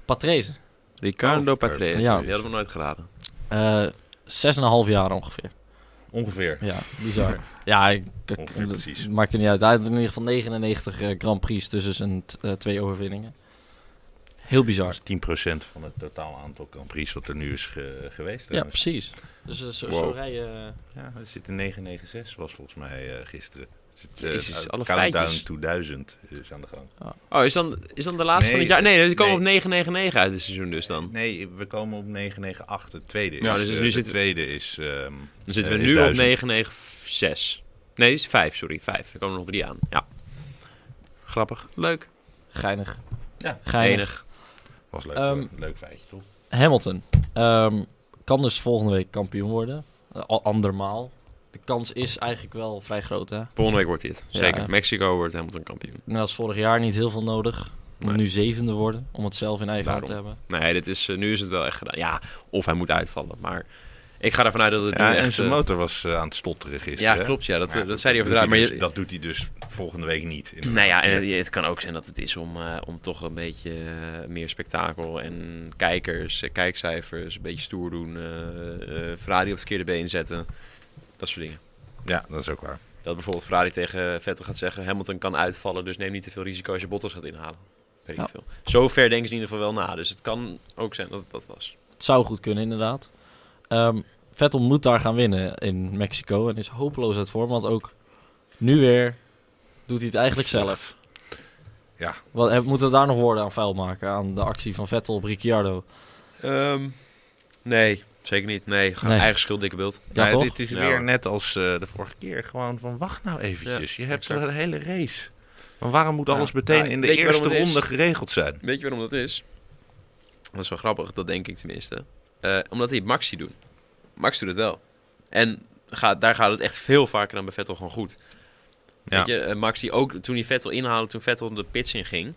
[SPEAKER 3] Patrese.
[SPEAKER 2] Ricardo
[SPEAKER 4] Oh,
[SPEAKER 2] Patrese,
[SPEAKER 3] Ja.
[SPEAKER 2] die hadden we nooit geraden.
[SPEAKER 3] Eh, Zes en een half jaar ongeveer.
[SPEAKER 4] Ongeveer.
[SPEAKER 3] Ja, bizar. ja, ik, ik-
[SPEAKER 4] Ongeveer precies.
[SPEAKER 3] maakt er niet uit. Hij had in ieder geval 99 eh, Grand Prix tussen zijn t- eh, twee overwinningen. Heel bizar.
[SPEAKER 4] Dat is 10% van het totaal aantal Grand Prix wat er nu is ge- geweest.
[SPEAKER 3] Ja,
[SPEAKER 4] trouwens.
[SPEAKER 3] precies. Dus eh, zo,
[SPEAKER 2] Wow.
[SPEAKER 3] zo rij je...
[SPEAKER 4] Ja, er zit een 996 was volgens mij eh, gisteren. Er Zit, eh,
[SPEAKER 2] Jezus, alle
[SPEAKER 4] Countdown
[SPEAKER 2] feitjes.
[SPEAKER 4] to 1000 is aan de gang.
[SPEAKER 2] Oh, is dan, is dan de laatste
[SPEAKER 4] Nee,
[SPEAKER 2] van het jaar? Nee, dan komen we
[SPEAKER 4] nee.
[SPEAKER 2] op 999 uit het seizoen dus dan.
[SPEAKER 4] Nee, we komen op 998. Het tweede is.
[SPEAKER 2] Ja, dus
[SPEAKER 4] eh,
[SPEAKER 2] nu
[SPEAKER 4] de
[SPEAKER 2] zitten we-
[SPEAKER 4] tweede is. ehm,
[SPEAKER 2] Dan zitten
[SPEAKER 4] eh,
[SPEAKER 2] we
[SPEAKER 4] is
[SPEAKER 2] nu op
[SPEAKER 4] 1000.
[SPEAKER 2] 996. Nee, is 5, sorry. 5. Er komen er nog drie aan. Ja. Grappig. Leuk.
[SPEAKER 3] Geinig.
[SPEAKER 4] Ja,
[SPEAKER 3] Geinig.
[SPEAKER 2] Enig.
[SPEAKER 4] Was leuk. eh,
[SPEAKER 3] Ehm,
[SPEAKER 4] leuk feitje toch?
[SPEAKER 3] Hamilton. Ehm, kan dus volgende week kampioen worden. Eh, al andermaal. De kans is eigenlijk wel vrij groot, hè?
[SPEAKER 2] Volgende week wordt hij het.
[SPEAKER 3] Ja,
[SPEAKER 2] Zeker.
[SPEAKER 3] ja.
[SPEAKER 2] Mexico wordt Hamilton kampioen.
[SPEAKER 3] Net als vorig jaar niet heel veel nodig. Om
[SPEAKER 2] Nee.
[SPEAKER 3] nu zevende worden. Om het zelf in eigen hand te
[SPEAKER 2] Daarom.
[SPEAKER 3] hebben.
[SPEAKER 2] Nee, dit is, eh, nu is het wel echt gedaan. Ja, of hij moet uitvallen. Maar ik ga ervan uit dat het
[SPEAKER 4] Ja,
[SPEAKER 2] nu
[SPEAKER 4] en
[SPEAKER 2] echt...
[SPEAKER 4] zijn
[SPEAKER 2] eh,
[SPEAKER 4] motor was eh, aan het stotteren gisteren.
[SPEAKER 2] ja,
[SPEAKER 4] hè?
[SPEAKER 2] klopt. Ja, dat, eh,
[SPEAKER 4] Maar
[SPEAKER 2] dat zei hij
[SPEAKER 4] doet
[SPEAKER 2] over de Maar
[SPEAKER 4] dus-
[SPEAKER 2] je-
[SPEAKER 4] Dat doet hij dus volgende week niet. inderdaad.
[SPEAKER 2] nou ja, en het, het kan ook zijn dat het is om, eh, om toch een beetje eh, meer spektakel en kijkers, eh, kijkcijfers, een beetje stoer doen. eh eh Ferrari op het verkeerde been zetten. Dat soort dingen.
[SPEAKER 4] Ja, dat is ook waar.
[SPEAKER 2] Dat bijvoorbeeld Ferrari tegen Vettel gaat zeggen... Hamilton kan uitvallen, dus neem niet te veel risico als je Bottas gaat inhalen. Weet ik
[SPEAKER 3] Ja.
[SPEAKER 2] veel. Zo ver denken ze in ieder geval wel na. Dus het kan ook zijn dat het dat was.
[SPEAKER 3] Het zou goed kunnen, inderdaad. Ehm, Vettel moet daar gaan winnen in Mexico. En is hopeloos uit vorm. Want ook nu weer doet hij het eigenlijk zelf.
[SPEAKER 4] Ja.
[SPEAKER 3] Wat, eh, moeten we daar nog woorden aan vuil maken? Aan de actie van Vettel op Ricciardo.
[SPEAKER 2] Ehm, nee, zeker niet. Nee, gewoon
[SPEAKER 3] Nee.
[SPEAKER 2] eigen schuld, dikke beeld.
[SPEAKER 3] Ja,
[SPEAKER 4] Nou,
[SPEAKER 3] toch?
[SPEAKER 4] Dit is
[SPEAKER 2] Ja,
[SPEAKER 4] weer
[SPEAKER 2] hoor.
[SPEAKER 4] net als eh, de vorige keer. Gewoon van wacht nou eventjes. je hebt
[SPEAKER 2] exact.
[SPEAKER 4] een hele race. Maar waarom moet
[SPEAKER 2] Ja.
[SPEAKER 4] alles meteen
[SPEAKER 2] Ja,
[SPEAKER 4] in de
[SPEAKER 2] weet je waarom
[SPEAKER 4] eerste
[SPEAKER 2] het is?
[SPEAKER 4] ronde geregeld zijn?
[SPEAKER 2] Weet je waarom dat is? Dat is wel grappig, dat denk ik tenminste. Eh, omdat hij het Max ziet doen. Max doet het wel. En gaat, daar gaat het echt veel vaker dan bij Vettel gewoon goed.
[SPEAKER 4] Ja.
[SPEAKER 2] Weet je, eh, Max die ook toen hij Vettel inhaalde, toen Vettel de pits in ging...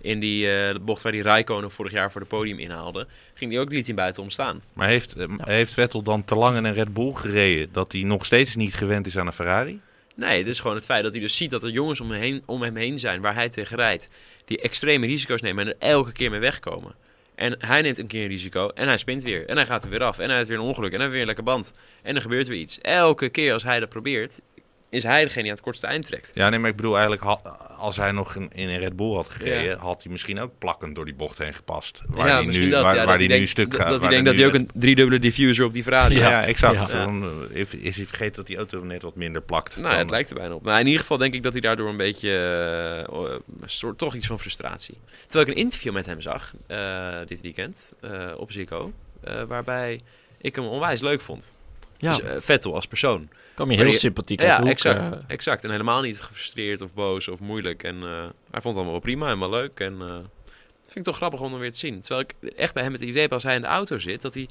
[SPEAKER 2] in die eh, bocht waar die Rijkonen vorig jaar voor de podium inhaalde... ging hij ook liet hij buiten omstaan.
[SPEAKER 4] Maar heeft, eh, heeft Vettel dan te lang in een Red Bull gereden dat hij nog steeds niet gewend is aan een Ferrari?
[SPEAKER 2] Nee, het is gewoon het feit dat hij dus ziet dat er jongens om hem heen, om hem heen zijn waar hij tegen rijdt. Die extreme risico's nemen en er elke keer mee wegkomen. En hij neemt een keer een risico en hij spint weer. En hij gaat er weer af. En hij heeft weer een ongeluk. En hij heeft weer een lekker band. En er gebeurt weer iets. Elke keer als hij dat probeert, is hij degene die aan het kortste eind trekt.
[SPEAKER 4] Ja, nee, maar ik bedoel eigenlijk, ha- als hij nog in, in een Red Bull had gereden, had hij misschien ook plakkend door die bocht heen gepast. Waar hij nu, waar, waar hij nu stuk gaat.
[SPEAKER 2] Dat
[SPEAKER 4] waar
[SPEAKER 2] hij denkt dat
[SPEAKER 4] nu
[SPEAKER 2] hij ook
[SPEAKER 4] met-
[SPEAKER 2] een driedubbele diffuser op die Ferrari
[SPEAKER 4] Ja,
[SPEAKER 2] had.
[SPEAKER 4] exact.
[SPEAKER 2] Ja.
[SPEAKER 4] Dan eh, is, is hij vergeten dat die auto net wat minder plakt.
[SPEAKER 2] Nou,
[SPEAKER 4] dan-
[SPEAKER 2] het lijkt er bijna op. Maar in ieder geval denk ik dat hij daardoor een beetje... eh, oh, eh, soort, toch iets van frustratie. Terwijl ik een interview met hem zag eh, dit weekend eh, op Zico. eh, waarbij ik hem onwijs leuk vond.
[SPEAKER 3] Ja,
[SPEAKER 2] Dus, eh, Vettel als persoon.
[SPEAKER 3] kwam je
[SPEAKER 2] maar
[SPEAKER 3] heel
[SPEAKER 2] je-
[SPEAKER 3] sympathiek uit
[SPEAKER 2] Ja,
[SPEAKER 3] de hoek,
[SPEAKER 2] exact,
[SPEAKER 3] eh.
[SPEAKER 2] exact. En helemaal niet gefrustreerd of boos of moeilijk. En eh, hij vond het allemaal wel prima en wel leuk. En eh, dat vind ik toch grappig om hem weer te zien. Terwijl ik echt bij hem het idee heb als hij in de auto zit, dat hij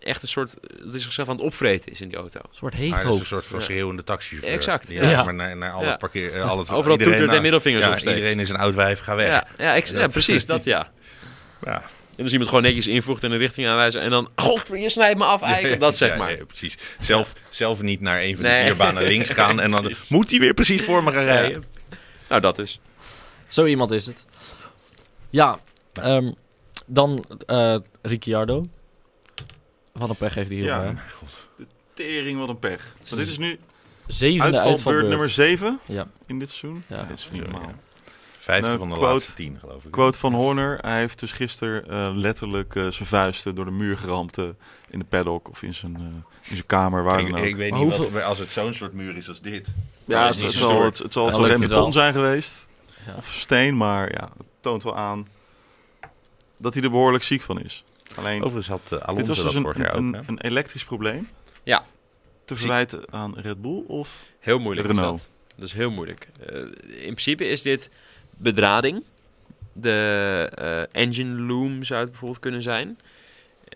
[SPEAKER 2] echt een soort, dat hij zichzelf aan het opvreten is in die auto.
[SPEAKER 3] Een soort
[SPEAKER 4] Maar hij is een
[SPEAKER 3] heethoofd.
[SPEAKER 4] soort van
[SPEAKER 2] Ja.
[SPEAKER 4] schreeuwende taxichauffeur.
[SPEAKER 2] Exact.
[SPEAKER 4] Ja,
[SPEAKER 3] Ja.
[SPEAKER 4] maar naar, naar alle
[SPEAKER 2] Ja.
[SPEAKER 4] parkeer... eh, Alle,
[SPEAKER 2] Overal toetert en
[SPEAKER 4] naast-
[SPEAKER 2] middelvingers
[SPEAKER 4] ja,
[SPEAKER 2] opsteekt.
[SPEAKER 4] Iedereen is een oud wijf, ga weg.
[SPEAKER 2] Ja, ja, ex- ja,
[SPEAKER 4] Dat-
[SPEAKER 2] precies, dat ja.
[SPEAKER 4] Ja.
[SPEAKER 2] En als iemand gewoon netjes invoegt en een richting aanwijzen en dan, god, je snijdt me af, eiken, dat zeg
[SPEAKER 4] Ja,
[SPEAKER 2] maar.
[SPEAKER 4] ja, precies. Zelf, zelf niet naar een van de
[SPEAKER 2] Nee.
[SPEAKER 4] vier banen links gaan en dan
[SPEAKER 2] Precies.
[SPEAKER 4] moet hij weer precies voor me gaan rijden.
[SPEAKER 2] Nou, dat is.
[SPEAKER 3] Zo iemand is het. Ja, ehm, dan eh, Ricciardo. Wat een pech heeft hij hier.
[SPEAKER 1] Ja.
[SPEAKER 3] hè?
[SPEAKER 1] Tering, wat een pech. Want dit is nu
[SPEAKER 3] Zevende
[SPEAKER 1] uitvalbeurt
[SPEAKER 3] uitvalbeurt.
[SPEAKER 1] nummer 7
[SPEAKER 3] Ja.
[SPEAKER 1] in dit seizoen.
[SPEAKER 3] Ja.
[SPEAKER 1] Dit is niet normaal.
[SPEAKER 4] Vijfde
[SPEAKER 1] Nou,
[SPEAKER 4] van de
[SPEAKER 1] quote-
[SPEAKER 4] laatste tien, geloof ik.
[SPEAKER 1] Quote van Horner. Hij heeft dus gisteren eh, letterlijk eh, zijn vuisten door de muur geramd eh, in de paddock of in zijn, eh, in zijn kamer, waar
[SPEAKER 4] ik,
[SPEAKER 1] dan ook.
[SPEAKER 4] ik weet
[SPEAKER 3] Maar
[SPEAKER 4] niet,
[SPEAKER 3] hoeveel-
[SPEAKER 4] wat, als het zo'n soort muur is als dit... dan
[SPEAKER 1] ja,
[SPEAKER 4] is
[SPEAKER 1] het,
[SPEAKER 4] niet
[SPEAKER 1] het
[SPEAKER 4] zo
[SPEAKER 1] zal,
[SPEAKER 4] stoer.
[SPEAKER 1] het, het zal
[SPEAKER 3] Ja,
[SPEAKER 1] het wel
[SPEAKER 3] lukt
[SPEAKER 1] rem
[SPEAKER 3] het
[SPEAKER 1] beton
[SPEAKER 3] wel.
[SPEAKER 1] zijn geweest.
[SPEAKER 3] Ja.
[SPEAKER 1] Of steen, maar ja, het toont wel aan dat hij er behoorlijk ziek van is. Alleen,
[SPEAKER 4] Overigens had eh,
[SPEAKER 1] dit
[SPEAKER 4] Alonso
[SPEAKER 1] was
[SPEAKER 4] dat
[SPEAKER 1] dus
[SPEAKER 4] vorig
[SPEAKER 1] een,
[SPEAKER 4] jaar
[SPEAKER 1] een,
[SPEAKER 4] ook. hè?
[SPEAKER 1] een elektrisch probleem.
[SPEAKER 2] Ja.
[SPEAKER 1] Te verwijten aan Red Bull of...
[SPEAKER 2] Heel moeilijk
[SPEAKER 1] Renault.
[SPEAKER 2] is dat. Dat is heel moeilijk. Eh, in principe is dit bedrading. De eh, engine loom zou het bijvoorbeeld kunnen zijn.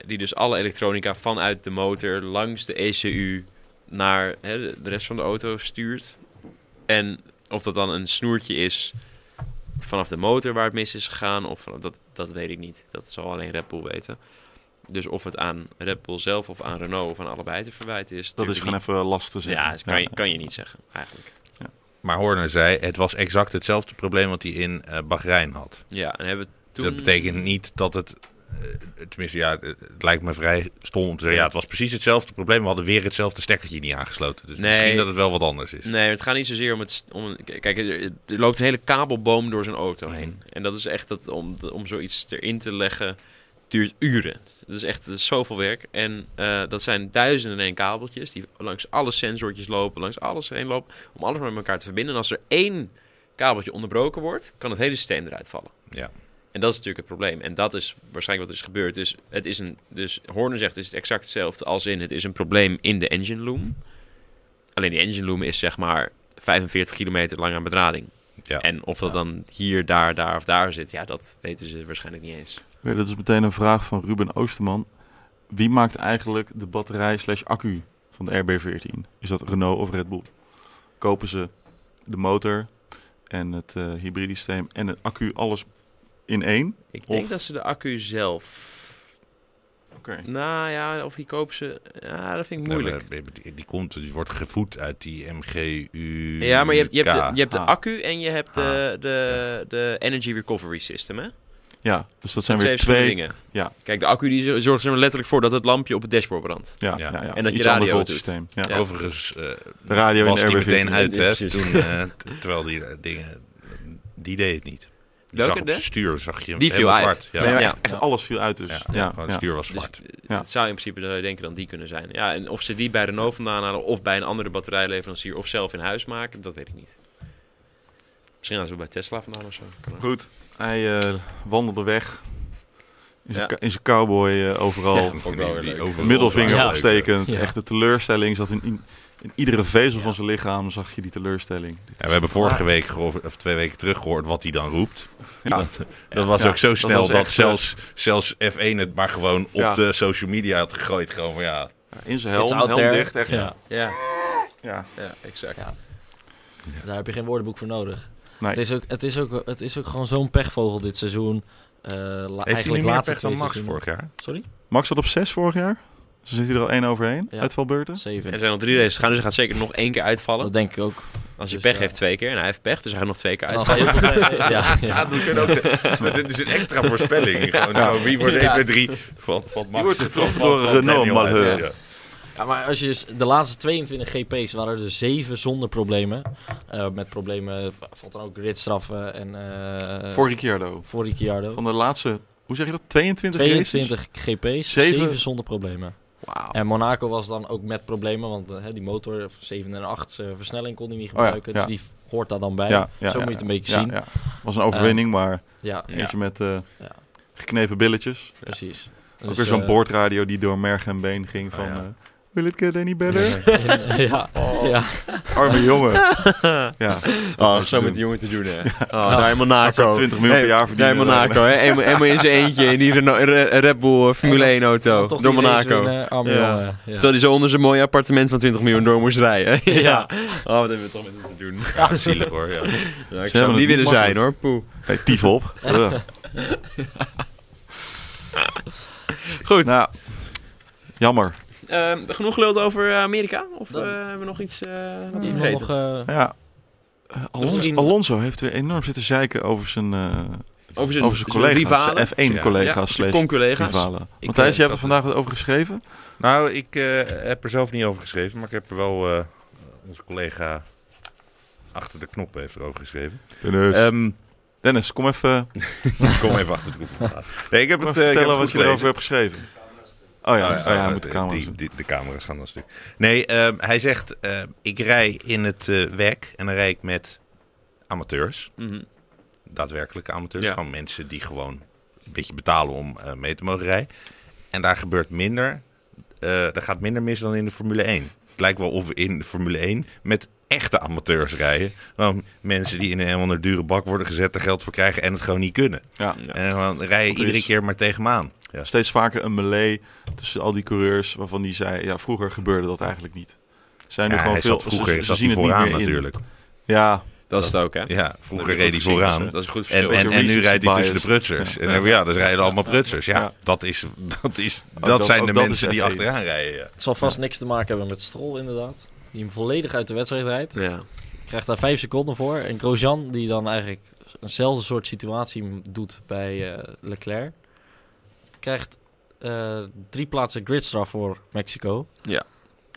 [SPEAKER 2] Die dus alle elektronica vanuit de motor langs de ECU naar hè, de- de rest van de auto stuurt. En of dat dan een snoertje is vanaf de motor waar het mis is gegaan, of vanaf dat, dat weet ik niet. Dat zal alleen Red Bull weten. Dus of het aan Red Bull zelf of aan Renault of aan allebei te verwijten is.
[SPEAKER 1] Dat is
[SPEAKER 2] natuurlijk
[SPEAKER 1] gewoon even lastig te zeggen.
[SPEAKER 2] ja, dat kan, je, kan je niet zeggen, eigenlijk.
[SPEAKER 4] Maar Horner zei, het was exact hetzelfde probleem wat hij in eh, Bahrein had.
[SPEAKER 2] Ja, en hebben we toen...
[SPEAKER 4] Dat betekent niet dat het. eh, Tenminste, ja, het het lijkt me vrij stom om te zeggen. Ja, het was precies hetzelfde probleem. We hadden weer hetzelfde stekkertje niet aangesloten. Dus
[SPEAKER 2] Nee.
[SPEAKER 4] misschien dat het wel wat anders is.
[SPEAKER 2] Nee, het gaat niet zozeer om het... st- Om, een- k- kijk, er, er loopt een hele kabelboom door zijn auto heen. En dat is echt... Dat, om, om zoiets erin te leggen, duurt uren. Dat is echt dat is zoveel werk. En eh, dat zijn duizenden en één kabeltjes... die langs alle sensortjes lopen, langs alles heen lopen... om alles met elkaar te verbinden. En als er één kabeltje onderbroken wordt... kan het hele systeem eruit vallen.
[SPEAKER 4] Ja.
[SPEAKER 2] En dat is natuurlijk het probleem. En dat is waarschijnlijk wat er is gebeurd. Dus, het is een, dus Horner zegt het is exact hetzelfde als in het is een probleem in de engine loom. Alleen die engine loom is zeg maar 45 kilometer lang aan bedrading.
[SPEAKER 4] Ja.
[SPEAKER 2] En of dat dan hier, daar, daar of daar zit, ja, dat weten ze waarschijnlijk niet eens.
[SPEAKER 1] Ja, dat is meteen een vraag van Ruben Oosterman. Wie maakt eigenlijk de batterij slash accu van de RB14? Is dat Renault of Red Bull? Kopen ze de motor en het eh hybride systeem en het accu alles in één?
[SPEAKER 2] Ik denk
[SPEAKER 1] Of-
[SPEAKER 2] dat ze de accu zelf.
[SPEAKER 1] Oké.
[SPEAKER 2] Nou ja, of die kopen ze. Ja, dat vind ik
[SPEAKER 4] Nee,
[SPEAKER 2] moeilijk.
[SPEAKER 4] maar Nou, Die, die, komt, die wordt gevoed uit die MGU.
[SPEAKER 2] Ja, maar je hebt, je hebt, de, je hebt de
[SPEAKER 1] Ah.
[SPEAKER 2] accu en je hebt de, de, de energy recovery system, hè?
[SPEAKER 1] Ja, dus dat zijn
[SPEAKER 2] Twee
[SPEAKER 1] weer
[SPEAKER 2] verschillende
[SPEAKER 1] twee.
[SPEAKER 2] dingen.
[SPEAKER 1] ja.
[SPEAKER 2] Kijk, de accu die zorgt er zeg maar letterlijk voor dat het lampje op het dashboard brandt.
[SPEAKER 1] Ja,
[SPEAKER 4] Ja.
[SPEAKER 1] ja. Ja,
[SPEAKER 2] En dat je
[SPEAKER 1] Iets ander
[SPEAKER 2] radio
[SPEAKER 1] voltsysteem. Ja.
[SPEAKER 2] Ja.
[SPEAKER 4] Overigens eh,
[SPEAKER 1] De radio
[SPEAKER 4] was
[SPEAKER 1] in
[SPEAKER 4] die
[SPEAKER 1] de RB14.
[SPEAKER 4] meteen uit. Hè,
[SPEAKER 2] Precies.
[SPEAKER 4] toen, eh, t- terwijl die eh, dingen... Die deed het niet. Je
[SPEAKER 2] Welke,
[SPEAKER 4] zag op
[SPEAKER 2] de?
[SPEAKER 4] zijn stuur zag je
[SPEAKER 2] Die viel
[SPEAKER 4] helemaal
[SPEAKER 2] uit.
[SPEAKER 4] zwart. Ja.
[SPEAKER 1] Nee, maar
[SPEAKER 4] Ja.
[SPEAKER 1] echt, echt alles viel uit dus.
[SPEAKER 4] Ja,
[SPEAKER 1] Ja,
[SPEAKER 4] gewoon het
[SPEAKER 1] ja.
[SPEAKER 4] stuur was
[SPEAKER 2] Dus
[SPEAKER 4] zwart.
[SPEAKER 1] Ja.
[SPEAKER 2] het zou in principe zou je denken dan die kunnen zijn. Ja, en of ze die bij Renault vandaan halen of bij een andere batterijleverancier of zelf in huis maken, dat weet ik niet. Misschien halen ze het bij Tesla vandaan of zo. Kan ook.
[SPEAKER 1] Goed, hij eh, wandelde weg. In zijn
[SPEAKER 2] Ja.
[SPEAKER 1] ka- in zijn cowboy eh, overal.
[SPEAKER 2] Ja. Vond ik wel weer leuk.
[SPEAKER 4] overal-
[SPEAKER 1] middelvinger
[SPEAKER 3] Ja.
[SPEAKER 1] opstekend.
[SPEAKER 3] Ja.
[SPEAKER 1] Echt de teleurstelling zat in, in, in iedere vezel van zijn lichaam zag je die teleurstelling.
[SPEAKER 4] Ja, we hebben vorige week gehoord, of twee weken terug gehoord wat hij dan roept.
[SPEAKER 1] Ja.
[SPEAKER 4] Dat, dat was
[SPEAKER 1] Ja,
[SPEAKER 4] ook zo
[SPEAKER 1] dat
[SPEAKER 4] snel
[SPEAKER 1] was
[SPEAKER 4] dat,
[SPEAKER 1] echt, eh,
[SPEAKER 4] zelfs, zelfs F1 het maar gewoon op
[SPEAKER 1] Ja.
[SPEAKER 4] de social media had gegooid. Gewoon van ja,
[SPEAKER 1] In zijn
[SPEAKER 3] It's
[SPEAKER 1] helm,
[SPEAKER 3] out
[SPEAKER 1] helm
[SPEAKER 3] there.
[SPEAKER 1] dicht. Echt, ja.
[SPEAKER 2] Ja,
[SPEAKER 1] Ja.
[SPEAKER 2] ja, exact.
[SPEAKER 3] Ja. Daar heb je geen woordenboek voor nodig.
[SPEAKER 1] Nee.
[SPEAKER 3] Het, is ook, het, is ook, het is ook gewoon zo'n pechvogel dit seizoen. Eh, la-
[SPEAKER 4] heeft hij
[SPEAKER 3] eigenlijk
[SPEAKER 4] niet meer
[SPEAKER 3] laatste
[SPEAKER 4] pech dan
[SPEAKER 3] twee
[SPEAKER 4] Max
[SPEAKER 3] seizoenen.
[SPEAKER 4] vorig jaar?
[SPEAKER 3] Sorry?
[SPEAKER 1] Max zat op 6 vorig jaar. Ze zit hij er al één overheen.
[SPEAKER 3] Ja.
[SPEAKER 1] Uitvalbeurten.
[SPEAKER 2] En er
[SPEAKER 3] Zeven.
[SPEAKER 2] zijn nog drie races gaan, dus hij gaat zeker nog één keer uitvallen.
[SPEAKER 3] Dat denk ik ook.
[SPEAKER 2] Als je
[SPEAKER 3] Dus,
[SPEAKER 2] pech
[SPEAKER 3] eh,
[SPEAKER 2] heeft twee keer en hij heeft pech, dus hij gaat nog twee keer
[SPEAKER 3] En als hij
[SPEAKER 2] uitvallen.
[SPEAKER 3] ja, ja.
[SPEAKER 4] Ja, we kunnen ook de- dit is een extra nou, voorspelling. Gewoon, gewoon wie wordt 1, 2, 3 van, van Max.
[SPEAKER 1] wordt
[SPEAKER 4] tot
[SPEAKER 1] getroffen
[SPEAKER 4] van-
[SPEAKER 1] door
[SPEAKER 4] van
[SPEAKER 1] Renault
[SPEAKER 4] Daniel.
[SPEAKER 1] Malheur.
[SPEAKER 4] Ja.
[SPEAKER 3] Ja, maar als je dus- de laatste 22 GP's waren er dus zeven zonder problemen. Eh, met problemen v- valt dan ook ritstraffen en... eh
[SPEAKER 1] Voor Ricciardo.
[SPEAKER 3] voor Ricciardo.
[SPEAKER 1] Van de laatste, hoe zeg je dat? 22,
[SPEAKER 3] 22 GP's,
[SPEAKER 1] dus? Zeven?
[SPEAKER 3] 7 zonder problemen.
[SPEAKER 1] Wauw.
[SPEAKER 3] En Monaco was dan ook met problemen, want eh, die motor 7 en 8 eh, versnelling kon hij niet
[SPEAKER 1] ja,
[SPEAKER 3] gebruiken.
[SPEAKER 1] ja.
[SPEAKER 3] Dus die hoort daar dan bij.
[SPEAKER 1] Ja, ja,
[SPEAKER 3] Zo
[SPEAKER 1] ja,
[SPEAKER 3] moet je het een
[SPEAKER 1] ja.
[SPEAKER 3] beetje
[SPEAKER 1] Ja,
[SPEAKER 3] zien.
[SPEAKER 1] ja. Was een overwinning, maar
[SPEAKER 3] Ehm, Ja,
[SPEAKER 2] Ja.
[SPEAKER 1] eentje met eh,
[SPEAKER 3] Ja.
[SPEAKER 1] geknepen billetjes.
[SPEAKER 3] precies.
[SPEAKER 1] Ook
[SPEAKER 3] Dus,
[SPEAKER 1] weer zo'n
[SPEAKER 3] eh,
[SPEAKER 1] boordradio die door merg en been ging van...
[SPEAKER 4] Oh, ja.
[SPEAKER 1] eh, Will it get any better?
[SPEAKER 3] ja, ja.
[SPEAKER 1] Arme jongen. Ja,
[SPEAKER 2] Oh,
[SPEAKER 1] te
[SPEAKER 2] zo met
[SPEAKER 1] doen.
[SPEAKER 2] die jongen te doen, hè. Oh, daar in Monaco.
[SPEAKER 1] Gaat ze 20 miljoen per
[SPEAKER 2] Hey,
[SPEAKER 1] jaar verdienen.
[SPEAKER 2] Daar in Monaco, hè. Eenmaal, eenmaal in zijn eentje in die Renault- Re- Red Bull eh, Formule 1 auto.
[SPEAKER 3] Toch
[SPEAKER 2] Door
[SPEAKER 3] die race
[SPEAKER 2] Monaco.
[SPEAKER 3] winnen, arme
[SPEAKER 2] Ja.
[SPEAKER 3] jongen. Ja.
[SPEAKER 2] Terwijl hij zo onder zijn mooie appartement van 20 miljoen door moest rijden. ja.
[SPEAKER 3] Ja.
[SPEAKER 2] Oh, wat hebben we toch met hem te doen.
[SPEAKER 4] Ja, zielig hoor. Ja.
[SPEAKER 2] Ja, ik
[SPEAKER 1] hebben
[SPEAKER 2] zou hem
[SPEAKER 1] het
[SPEAKER 2] niet
[SPEAKER 1] niet
[SPEAKER 2] willen zijn,
[SPEAKER 1] makkelijk.
[SPEAKER 2] hoor. Poeh.
[SPEAKER 1] Hey, tief op. Ugh.
[SPEAKER 2] Goed.
[SPEAKER 1] Nou, jammer.
[SPEAKER 2] Ehm, genoeg geluld over eh, Amerika? Of
[SPEAKER 3] Dat-
[SPEAKER 2] eh, hebben we nog iets eh, wat
[SPEAKER 3] Die
[SPEAKER 2] we
[SPEAKER 3] man
[SPEAKER 2] vergeten?
[SPEAKER 3] nog, eh,
[SPEAKER 1] Ja. eh, Alonso,
[SPEAKER 3] Misschien-
[SPEAKER 1] Alonso heeft weer enorm zitten zeiken over zijn, eh,
[SPEAKER 2] Over
[SPEAKER 1] over zijn collega's.
[SPEAKER 2] rivalen.
[SPEAKER 1] Zijn F1-collega's
[SPEAKER 2] Ja,
[SPEAKER 1] slash
[SPEAKER 2] con-collega's.
[SPEAKER 1] rivalen. Matthijs, jij hebt er
[SPEAKER 4] dat-
[SPEAKER 1] vandaag wat over geschreven.
[SPEAKER 4] Nou, ik eh, heb er zelf niet over geschreven, maar ik heb er wel eh, onze collega achter de knop heeft erover geschreven.
[SPEAKER 1] Dennis,
[SPEAKER 4] Ehm,
[SPEAKER 1] Eh, Dennis kom even
[SPEAKER 4] kom even achter de knop. Nee,
[SPEAKER 1] kom even
[SPEAKER 4] ik heb het, eh, ik heb het
[SPEAKER 1] vertellen wat
[SPEAKER 4] goed
[SPEAKER 1] je erover
[SPEAKER 4] gelezen.
[SPEAKER 1] hebt geschreven. Oh ja, oh, ja, hij moet de camera
[SPEAKER 4] eh, die-
[SPEAKER 1] zien.
[SPEAKER 4] die- De camera's gaan dan stuk. Nee, ehm, hij zegt, eh, ik rij in het eh werk en dan rij ik met amateurs.
[SPEAKER 2] Mhm.
[SPEAKER 4] Daadwerkelijke amateurs.
[SPEAKER 2] Ja.
[SPEAKER 4] Gewoon mensen die gewoon een beetje betalen om eh, mee te mogen rijden. En daar gebeurt minder, eh daar gaat minder mis dan in de Formule 1. Het lijkt wel of we in de Formule 1 met echte amateurs rijden. Gewoon mensen die in een of andere dure bak worden gezet, er geld voor krijgen en het gewoon niet kunnen.
[SPEAKER 1] Ja.
[SPEAKER 2] Ja.
[SPEAKER 4] En dan rijden
[SPEAKER 1] Want er
[SPEAKER 4] iedere
[SPEAKER 1] is-
[SPEAKER 4] keer maar tegen hem aan. Ja.
[SPEAKER 1] Steeds vaker een melee tussen al die coureurs waarvan die zei, ja, vroeger gebeurde dat eigenlijk niet. Zijn er
[SPEAKER 4] Ja,
[SPEAKER 1] gewoon
[SPEAKER 4] hij
[SPEAKER 1] veel
[SPEAKER 4] zat vroeger
[SPEAKER 1] ze, ze
[SPEAKER 4] zat
[SPEAKER 1] zien
[SPEAKER 4] hij
[SPEAKER 1] het niet
[SPEAKER 4] vooraan
[SPEAKER 1] meer in.
[SPEAKER 4] natuurlijk.
[SPEAKER 1] Ja,
[SPEAKER 2] Dat is het ook, hè?
[SPEAKER 4] Ja, vroeger
[SPEAKER 2] Dat
[SPEAKER 4] reed
[SPEAKER 2] is
[SPEAKER 4] hij
[SPEAKER 2] een goed
[SPEAKER 4] vooraan.
[SPEAKER 1] eh,
[SPEAKER 2] verschil. Dat is een goed
[SPEAKER 4] En,
[SPEAKER 2] verschil.
[SPEAKER 4] en, en nu
[SPEAKER 1] recency
[SPEAKER 4] rijdt hij tussen de
[SPEAKER 1] biased.
[SPEAKER 4] prutsers. En dan, ja, dan rijden allemaal prutsers. Ja,
[SPEAKER 1] Ja.
[SPEAKER 4] dat, is, dat, is, dat,
[SPEAKER 1] dat-
[SPEAKER 4] zijn de
[SPEAKER 1] ook dat is
[SPEAKER 4] mensen die
[SPEAKER 1] F1.
[SPEAKER 4] achteraan rijden. Ja.
[SPEAKER 3] Het zal vast niks te maken hebben met Strol, inderdaad. Die hem volledig uit de wedstrijd rijdt.
[SPEAKER 2] Ja.
[SPEAKER 3] Krijgt daar vijf seconden voor. En Grosjean, die dan eigenlijk eenzelfde soort situatie m- doet bij eh, Leclerc, krijgt eh, drie plaatsen gridstraf voor Mexico.
[SPEAKER 2] Ja.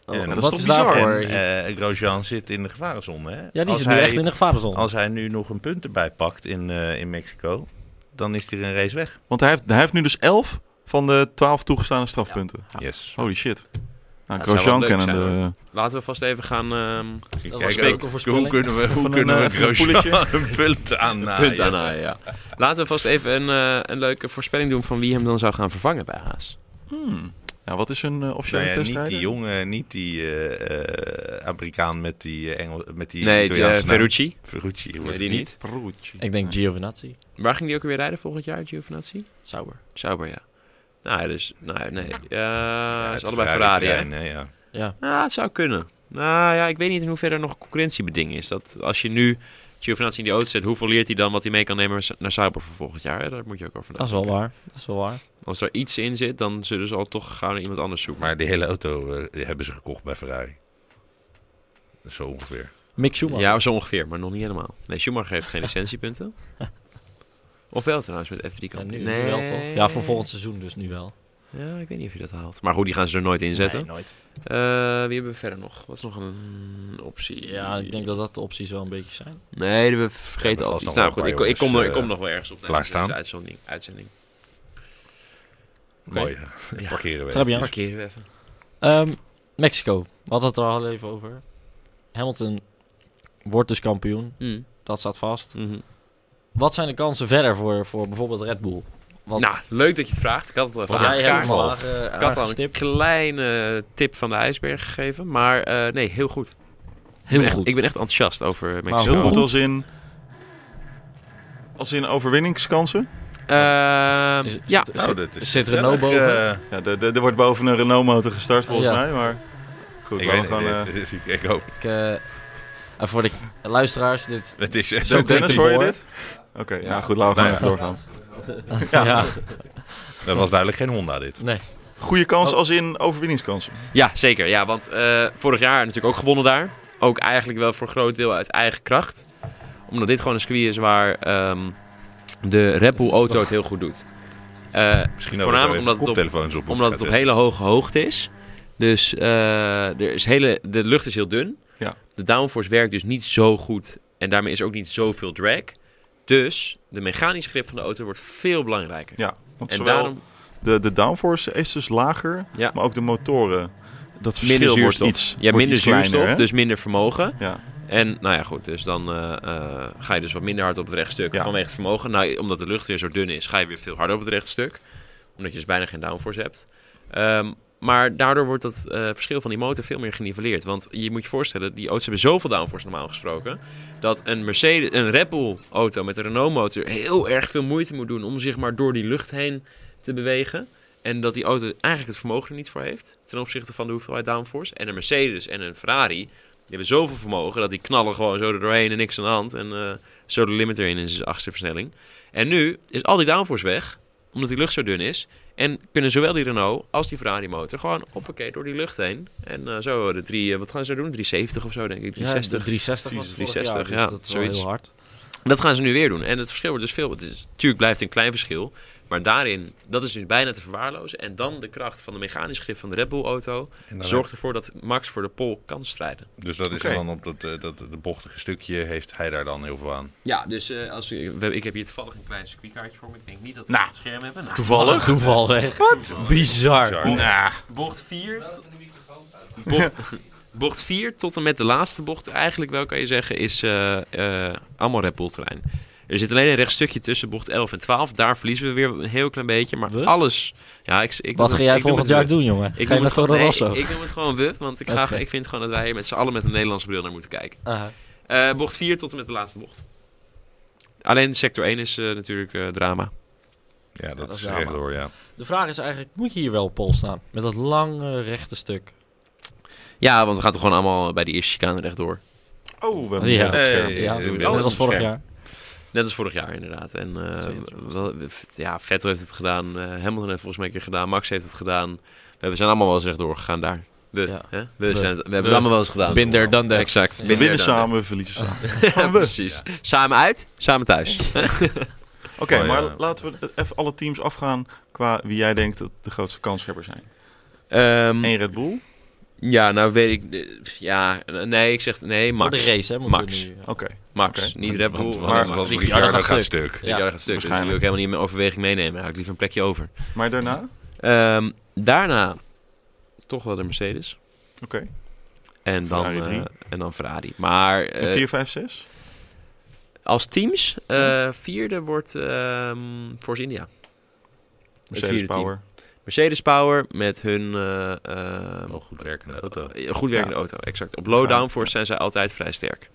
[SPEAKER 3] Oh,
[SPEAKER 4] En
[SPEAKER 3] wat
[SPEAKER 1] toch
[SPEAKER 3] is
[SPEAKER 1] bizar?
[SPEAKER 3] daarvoor?
[SPEAKER 4] En eh, Grosjean zit in de gevarenzone. Hè?
[SPEAKER 3] ja, die
[SPEAKER 4] Eh, Als
[SPEAKER 3] zit nu
[SPEAKER 4] hij-
[SPEAKER 3] echt in de gevarenzone.
[SPEAKER 4] Als hij nu nog een punt erbij pakt in, eh, in Mexico, dan is er een race weg.
[SPEAKER 1] want hij heeft, hij heeft nu dus 11 van de 12 toegestane strafpunten.
[SPEAKER 4] Yes.
[SPEAKER 1] Holy shit. Nou,
[SPEAKER 2] dat zou wel
[SPEAKER 1] Grosjean
[SPEAKER 2] leuk
[SPEAKER 1] kennen
[SPEAKER 2] zijn,
[SPEAKER 1] de...
[SPEAKER 2] Laten we vast even gaan ehm
[SPEAKER 4] Kijk,
[SPEAKER 3] was
[SPEAKER 4] ook,
[SPEAKER 2] ook een
[SPEAKER 4] hoe
[SPEAKER 3] voorspelling.
[SPEAKER 4] kunnen we, hoe
[SPEAKER 1] Even
[SPEAKER 4] kunnen
[SPEAKER 1] een,
[SPEAKER 4] we
[SPEAKER 1] eh, even een
[SPEAKER 4] Grosjean een punt aan
[SPEAKER 2] punt aan naaien, ja. Laten we vast even een, eh, een leuke voorspelling doen van wie hem dan zou gaan vervangen bij Haas.
[SPEAKER 1] Hmm. Ja, wat is een eh, officiële
[SPEAKER 4] Nou ja, niet
[SPEAKER 1] testrijder?
[SPEAKER 4] die jongen, niet die eh, eh, Amerikaan met die eh, Engel, met die
[SPEAKER 2] nee,
[SPEAKER 4] Italiaanse
[SPEAKER 2] eh,
[SPEAKER 4] naam.
[SPEAKER 2] Ferrucci.
[SPEAKER 4] Ferrucci wordt
[SPEAKER 2] Nee,
[SPEAKER 4] het
[SPEAKER 2] die
[SPEAKER 4] niet.
[SPEAKER 2] niet.
[SPEAKER 1] Perucci.
[SPEAKER 3] Ik denk Giovinazzi.
[SPEAKER 2] Waar ging die ook weer rijden volgend jaar, Giovinazzi?
[SPEAKER 3] Sauber.
[SPEAKER 2] Sauber, ja. Nou, ja, dus... Nou, ja, nee. Eh,
[SPEAKER 4] Ja,
[SPEAKER 2] is
[SPEAKER 4] het
[SPEAKER 2] allebei Ferrari, hè?
[SPEAKER 4] trein, hè, ja.
[SPEAKER 3] Ja.
[SPEAKER 2] Nou, het zou kunnen. Nou ja, ik weet niet in hoeverre er nog concurrentiebeding is. Dat als je nu Giovinazzi in die auto zet, hoeveel leert hij dan wat hij mee kan nemen naar Sauber voor volgend jaar? Hè? Daar moet je ook over
[SPEAKER 3] Dat is
[SPEAKER 2] nadenken.
[SPEAKER 3] wel waar. Dat is wel waar.
[SPEAKER 2] Als er iets in zit, dan zullen ze al toch gauw naar iemand anders zoeken.
[SPEAKER 4] Maar de hele auto eh, hebben ze gekocht bij Ferrari. Zo ongeveer.
[SPEAKER 3] Mick Schumacher.
[SPEAKER 2] Ja, zo ongeveer, maar nog niet helemaal. Nee, Schumacher heeft geen licentiepunten. of wel trouwens met F3
[SPEAKER 3] Ja,
[SPEAKER 2] kan.
[SPEAKER 3] nu
[SPEAKER 2] nee.
[SPEAKER 3] wel toch? Ja, voor volgend seizoen dus nu wel.
[SPEAKER 2] Ja, ik weet niet of je dat haalt. Maar goed, die gaan ze er nooit in zetten.
[SPEAKER 3] Nee, nooit.
[SPEAKER 2] Eh, wie hebben we verder nog? Wat is nog een optie?
[SPEAKER 3] Ja, ik denk dat dat de opties wel een beetje zijn.
[SPEAKER 2] Nee, we
[SPEAKER 4] Ja,
[SPEAKER 2] vergeten
[SPEAKER 4] dat
[SPEAKER 2] al
[SPEAKER 4] was
[SPEAKER 2] iets.
[SPEAKER 4] nog
[SPEAKER 2] Nou
[SPEAKER 4] wel
[SPEAKER 2] goed,
[SPEAKER 4] een
[SPEAKER 2] ik,
[SPEAKER 4] paar
[SPEAKER 2] ik, kom,
[SPEAKER 4] jongens,
[SPEAKER 2] ik kom
[SPEAKER 4] eh,
[SPEAKER 2] nog wel ergens op. tijdens
[SPEAKER 4] klaarstaan.
[SPEAKER 2] Deze uitzending. uitzending. Oké.
[SPEAKER 4] Mooi. eh,
[SPEAKER 2] Ja.
[SPEAKER 4] Parkeren we.
[SPEAKER 3] Trabian.
[SPEAKER 2] Parkeren we even.
[SPEAKER 3] Ehm, Mexico. We hadden het er al even over. Hamilton wordt dus kampioen. Dat staat vast.
[SPEAKER 2] Mhm.
[SPEAKER 3] Wat zijn de kansen verder voor, voor bijvoorbeeld Red Bull? Want-
[SPEAKER 2] Nou, leuk dat je het vraagt. Ik had het al even
[SPEAKER 3] Want jij hebt
[SPEAKER 2] aangekaart.
[SPEAKER 4] kaart.
[SPEAKER 3] vandaag eh,
[SPEAKER 2] Ik had al een
[SPEAKER 3] aangestipt.
[SPEAKER 2] kleine tip van de ijsberg gegeven. Maar eh, nee, heel goed. Ik ben
[SPEAKER 3] Heel
[SPEAKER 2] echt-
[SPEAKER 3] goed.
[SPEAKER 2] Ik ben echt enthousiast over
[SPEAKER 3] Maar
[SPEAKER 2] Mexico.
[SPEAKER 1] Heel
[SPEAKER 3] hoe
[SPEAKER 1] goed
[SPEAKER 3] goed?
[SPEAKER 1] als in... Als in overwinningskansen.
[SPEAKER 2] Ehm,
[SPEAKER 3] Is-
[SPEAKER 2] ja,
[SPEAKER 3] zit-
[SPEAKER 4] Nou,
[SPEAKER 3] zit-
[SPEAKER 4] dat is
[SPEAKER 3] Zit Renault
[SPEAKER 4] gezellig,
[SPEAKER 3] boven?
[SPEAKER 4] eh,
[SPEAKER 1] Ja, er- er er wordt boven een Renault-motor gestart volgens
[SPEAKER 3] Ja.
[SPEAKER 1] mij, maar... Goed,
[SPEAKER 4] ik
[SPEAKER 1] we gaan
[SPEAKER 4] weet
[SPEAKER 1] gewoon... eh,
[SPEAKER 4] het. ik- Ik hoop.
[SPEAKER 3] Ik, eh, en voor de luisteraars, dit...
[SPEAKER 4] Het is echt
[SPEAKER 1] Zo,
[SPEAKER 4] zo
[SPEAKER 1] eh, Dennis,
[SPEAKER 4] Dennis.
[SPEAKER 1] hoor je
[SPEAKER 3] boor.
[SPEAKER 1] dit? Oké, nou goed, laten we gewoon
[SPEAKER 4] Nou
[SPEAKER 1] even doorgaan.
[SPEAKER 3] Ja.
[SPEAKER 4] Dat was duidelijk geen Honda dit.
[SPEAKER 3] nee.
[SPEAKER 1] Goede kans
[SPEAKER 3] Oh.
[SPEAKER 1] als in overwinningskansen.
[SPEAKER 2] ja, zeker. Ja, want eh, vorig jaar natuurlijk ook gewonnen daar. Ook eigenlijk wel voor een groot deel uit eigen kracht. Omdat dit gewoon een circuit is waar ehm, de Red Bull auto het heel goed doet. Eh,
[SPEAKER 4] Misschien
[SPEAKER 2] voornamelijk omdat het op
[SPEAKER 4] telefoons op.
[SPEAKER 2] omdat het op hele hoge hoogte is. Dus eh, er is hele, de lucht is heel dun.
[SPEAKER 1] Ja.
[SPEAKER 2] De downforce werkt dus niet zo goed. En daarmee is er ook niet zoveel drag. Dus de mechanische grip van de auto wordt veel belangrijker.
[SPEAKER 1] Ja, want
[SPEAKER 2] en
[SPEAKER 1] zowel
[SPEAKER 2] daarom
[SPEAKER 1] de, de downforce is dus lager,
[SPEAKER 2] Ja.
[SPEAKER 1] maar ook de motoren. Dat verschil
[SPEAKER 2] minder zuurstof.
[SPEAKER 1] wordt iets,
[SPEAKER 2] ja,
[SPEAKER 1] wordt
[SPEAKER 2] minder
[SPEAKER 1] iets kleiner,
[SPEAKER 2] zuurstof,
[SPEAKER 1] hè?
[SPEAKER 2] dus minder vermogen.
[SPEAKER 1] Ja.
[SPEAKER 2] En nou ja, goed, dus dan eh, eh, ga je dus wat minder hard op het rechtstuk
[SPEAKER 1] Ja.
[SPEAKER 2] vanwege het vermogen. Nou, omdat de lucht weer zo dun is, ga je weer veel harder op het rechtstuk. Omdat je dus bijna geen downforce hebt. Ehm, maar daardoor wordt dat eh, verschil van die motor veel meer geniveleerd. Want je moet je voorstellen, die auto's hebben zoveel downforce normaal gesproken. Dat een Mercedes, een Red Bull auto met een Renault motor heel erg veel moeite moet doen om zich maar door die lucht heen te bewegen. En dat die auto eigenlijk het vermogen er niet voor heeft. Ten opzichte van de hoeveelheid downforce. En een Mercedes en een Ferrari. Die hebben zoveel vermogen dat die knallen gewoon zo er doorheen en niks aan de hand. En eh, zo de limiter in in zijn achtste versnelling. En nu is al die downforce weg, omdat die lucht zo dun is. En kunnen zowel die Renault als die Ferrari motor gewoon hoppakee door die lucht heen. En eh, zo de drie, eh, wat gaan ze doen? 370 of zo denk ik, 360.
[SPEAKER 3] 360 was het vorig
[SPEAKER 2] 360,
[SPEAKER 3] jaar,
[SPEAKER 2] ja,
[SPEAKER 3] dus dat is wel
[SPEAKER 2] zoiets.
[SPEAKER 3] heel hard.
[SPEAKER 2] Dat gaan ze nu weer doen. En het verschil wordt dus veel. Het is, natuurlijk blijft een klein verschil. Maar daarin, dat is nu bijna te verwaarlozen. En dan de kracht van de mechanisch grip van de Red Bull auto.
[SPEAKER 4] En dan
[SPEAKER 2] Zorgt ervoor dat Max voor de pole kan strijden.
[SPEAKER 4] Dus dat is
[SPEAKER 1] Oké.
[SPEAKER 4] dan op dat, eh, dat, dat bochtige stukje heeft hij daar dan heel veel aan.
[SPEAKER 2] Ja, dus eh, als, we, we- ik heb hier toevallig een klein circuitkaartje voor me. Ik denk niet dat we
[SPEAKER 1] Nou.
[SPEAKER 2] het scherm hebben. Nou,
[SPEAKER 1] Toevallig.
[SPEAKER 3] Toeval, hè? Wat? Bizar.
[SPEAKER 4] Bizar.
[SPEAKER 1] Nou,
[SPEAKER 2] bocht 4. Bocht, bocht 4 tot en met de laatste bocht, eigenlijk wel kan je zeggen, is eh, eh, allemaal Red Bull terrein. Er zit alleen een rechtstukje tussen bocht 11 en 12. Daar verliezen we weer een heel klein beetje. Maar
[SPEAKER 3] We?
[SPEAKER 2] alles. Ja, ik, ik
[SPEAKER 3] Wat
[SPEAKER 2] doe-
[SPEAKER 3] ga jij
[SPEAKER 2] ik doe
[SPEAKER 3] volgend
[SPEAKER 2] het
[SPEAKER 3] jaar
[SPEAKER 2] we.
[SPEAKER 3] doen, jongen?
[SPEAKER 2] Ik
[SPEAKER 3] ga
[SPEAKER 2] noem
[SPEAKER 3] je naar
[SPEAKER 2] het gewoon,
[SPEAKER 3] Toro
[SPEAKER 2] nee,
[SPEAKER 3] Rosso?
[SPEAKER 2] ik noem het gewoon wuf, want ik, ga,
[SPEAKER 3] Oké.
[SPEAKER 2] ik vind gewoon dat wij hier met z'n allen met een Nederlandse bril naar moeten kijken.
[SPEAKER 3] Aha.
[SPEAKER 2] Eh, bocht 4 tot en met de laatste bocht. Alleen sector 1 is eh, natuurlijk eh, drama.
[SPEAKER 4] Ja, dat,
[SPEAKER 3] dat is
[SPEAKER 4] is
[SPEAKER 3] jammer.
[SPEAKER 4] echt door, ja.
[SPEAKER 3] De vraag is eigenlijk, moet je hier wel op pol staan? Met dat lange rechte stuk.
[SPEAKER 2] Ja, want we gaan toch gewoon allemaal bij die eerste chicane rechtdoor.
[SPEAKER 1] Oh, we hebben
[SPEAKER 3] Ja.
[SPEAKER 1] het op het scherm.
[SPEAKER 4] Hey.
[SPEAKER 3] Ja,
[SPEAKER 4] eh,
[SPEAKER 2] doe
[SPEAKER 3] net
[SPEAKER 2] je dat?
[SPEAKER 3] als vorig
[SPEAKER 2] Scherm.
[SPEAKER 3] jaar.
[SPEAKER 2] Net als vorig jaar inderdaad. En eh, wel- ja, Vettel heeft het gedaan. eh, Hamilton heeft volgens mij een keer gedaan. Max heeft het gedaan. We zijn allemaal wel eens rechtdoor gegaan daar. We,
[SPEAKER 3] Ja.
[SPEAKER 2] hè? we,
[SPEAKER 3] We.
[SPEAKER 2] zijn het- we hebben het allemaal wel eens gedaan.
[SPEAKER 3] Binder dan de.
[SPEAKER 2] Exact.
[SPEAKER 3] We
[SPEAKER 1] We
[SPEAKER 2] binnen
[SPEAKER 1] winnen
[SPEAKER 2] dan.
[SPEAKER 1] samen, we verliezen samen.
[SPEAKER 2] Ja, precies. Samen uit, samen thuis.
[SPEAKER 1] Oké,
[SPEAKER 4] Oh, ja.
[SPEAKER 1] maar laten we even alle teams afgaan qua wie jij denkt dat de grootste kanshebber zijn.
[SPEAKER 2] Ehm,
[SPEAKER 1] Eén Red Bull.
[SPEAKER 2] ja, nou weet ik. eh, Ja, nee, ik zeg nee,
[SPEAKER 3] Voor
[SPEAKER 2] Max.
[SPEAKER 3] de race, hè? moeten we
[SPEAKER 2] Max.
[SPEAKER 3] nu- eh,
[SPEAKER 1] Oké.
[SPEAKER 2] Max,
[SPEAKER 1] Oké.
[SPEAKER 2] niet Red Bull.
[SPEAKER 4] Want,
[SPEAKER 2] Maar
[SPEAKER 4] want,
[SPEAKER 2] Max.
[SPEAKER 4] want
[SPEAKER 2] Ricciardo
[SPEAKER 4] Ricciardo
[SPEAKER 3] gaat
[SPEAKER 4] gaat
[SPEAKER 3] stuk.
[SPEAKER 4] stuk.
[SPEAKER 3] Ja.
[SPEAKER 2] gaat stuk, dus die wil ik
[SPEAKER 1] Waarschijnlijk.
[SPEAKER 2] helemaal niet in mijn overweging meenemen. Daar Hou ik liever een plekje over.
[SPEAKER 1] Maar daarna?
[SPEAKER 2] Ehm, daarna toch wel de Mercedes.
[SPEAKER 1] Oké.
[SPEAKER 2] En dan,
[SPEAKER 1] Ferrari drie.
[SPEAKER 2] eh, en dan Ferrari. Maar eh,
[SPEAKER 1] En 4, 5, 6?
[SPEAKER 2] als teams, eh, vierde wordt ehm, Force India. Het
[SPEAKER 1] Mercedes
[SPEAKER 2] vierde team.
[SPEAKER 1] Power.
[SPEAKER 2] Mercedes Power met hun... eh, eh,
[SPEAKER 4] Wel goed werkende auto.
[SPEAKER 2] eh, Goed werkende
[SPEAKER 1] Ja.
[SPEAKER 2] auto, exact. Op low
[SPEAKER 1] Ja.
[SPEAKER 2] downforce zijn zij altijd vrij sterk.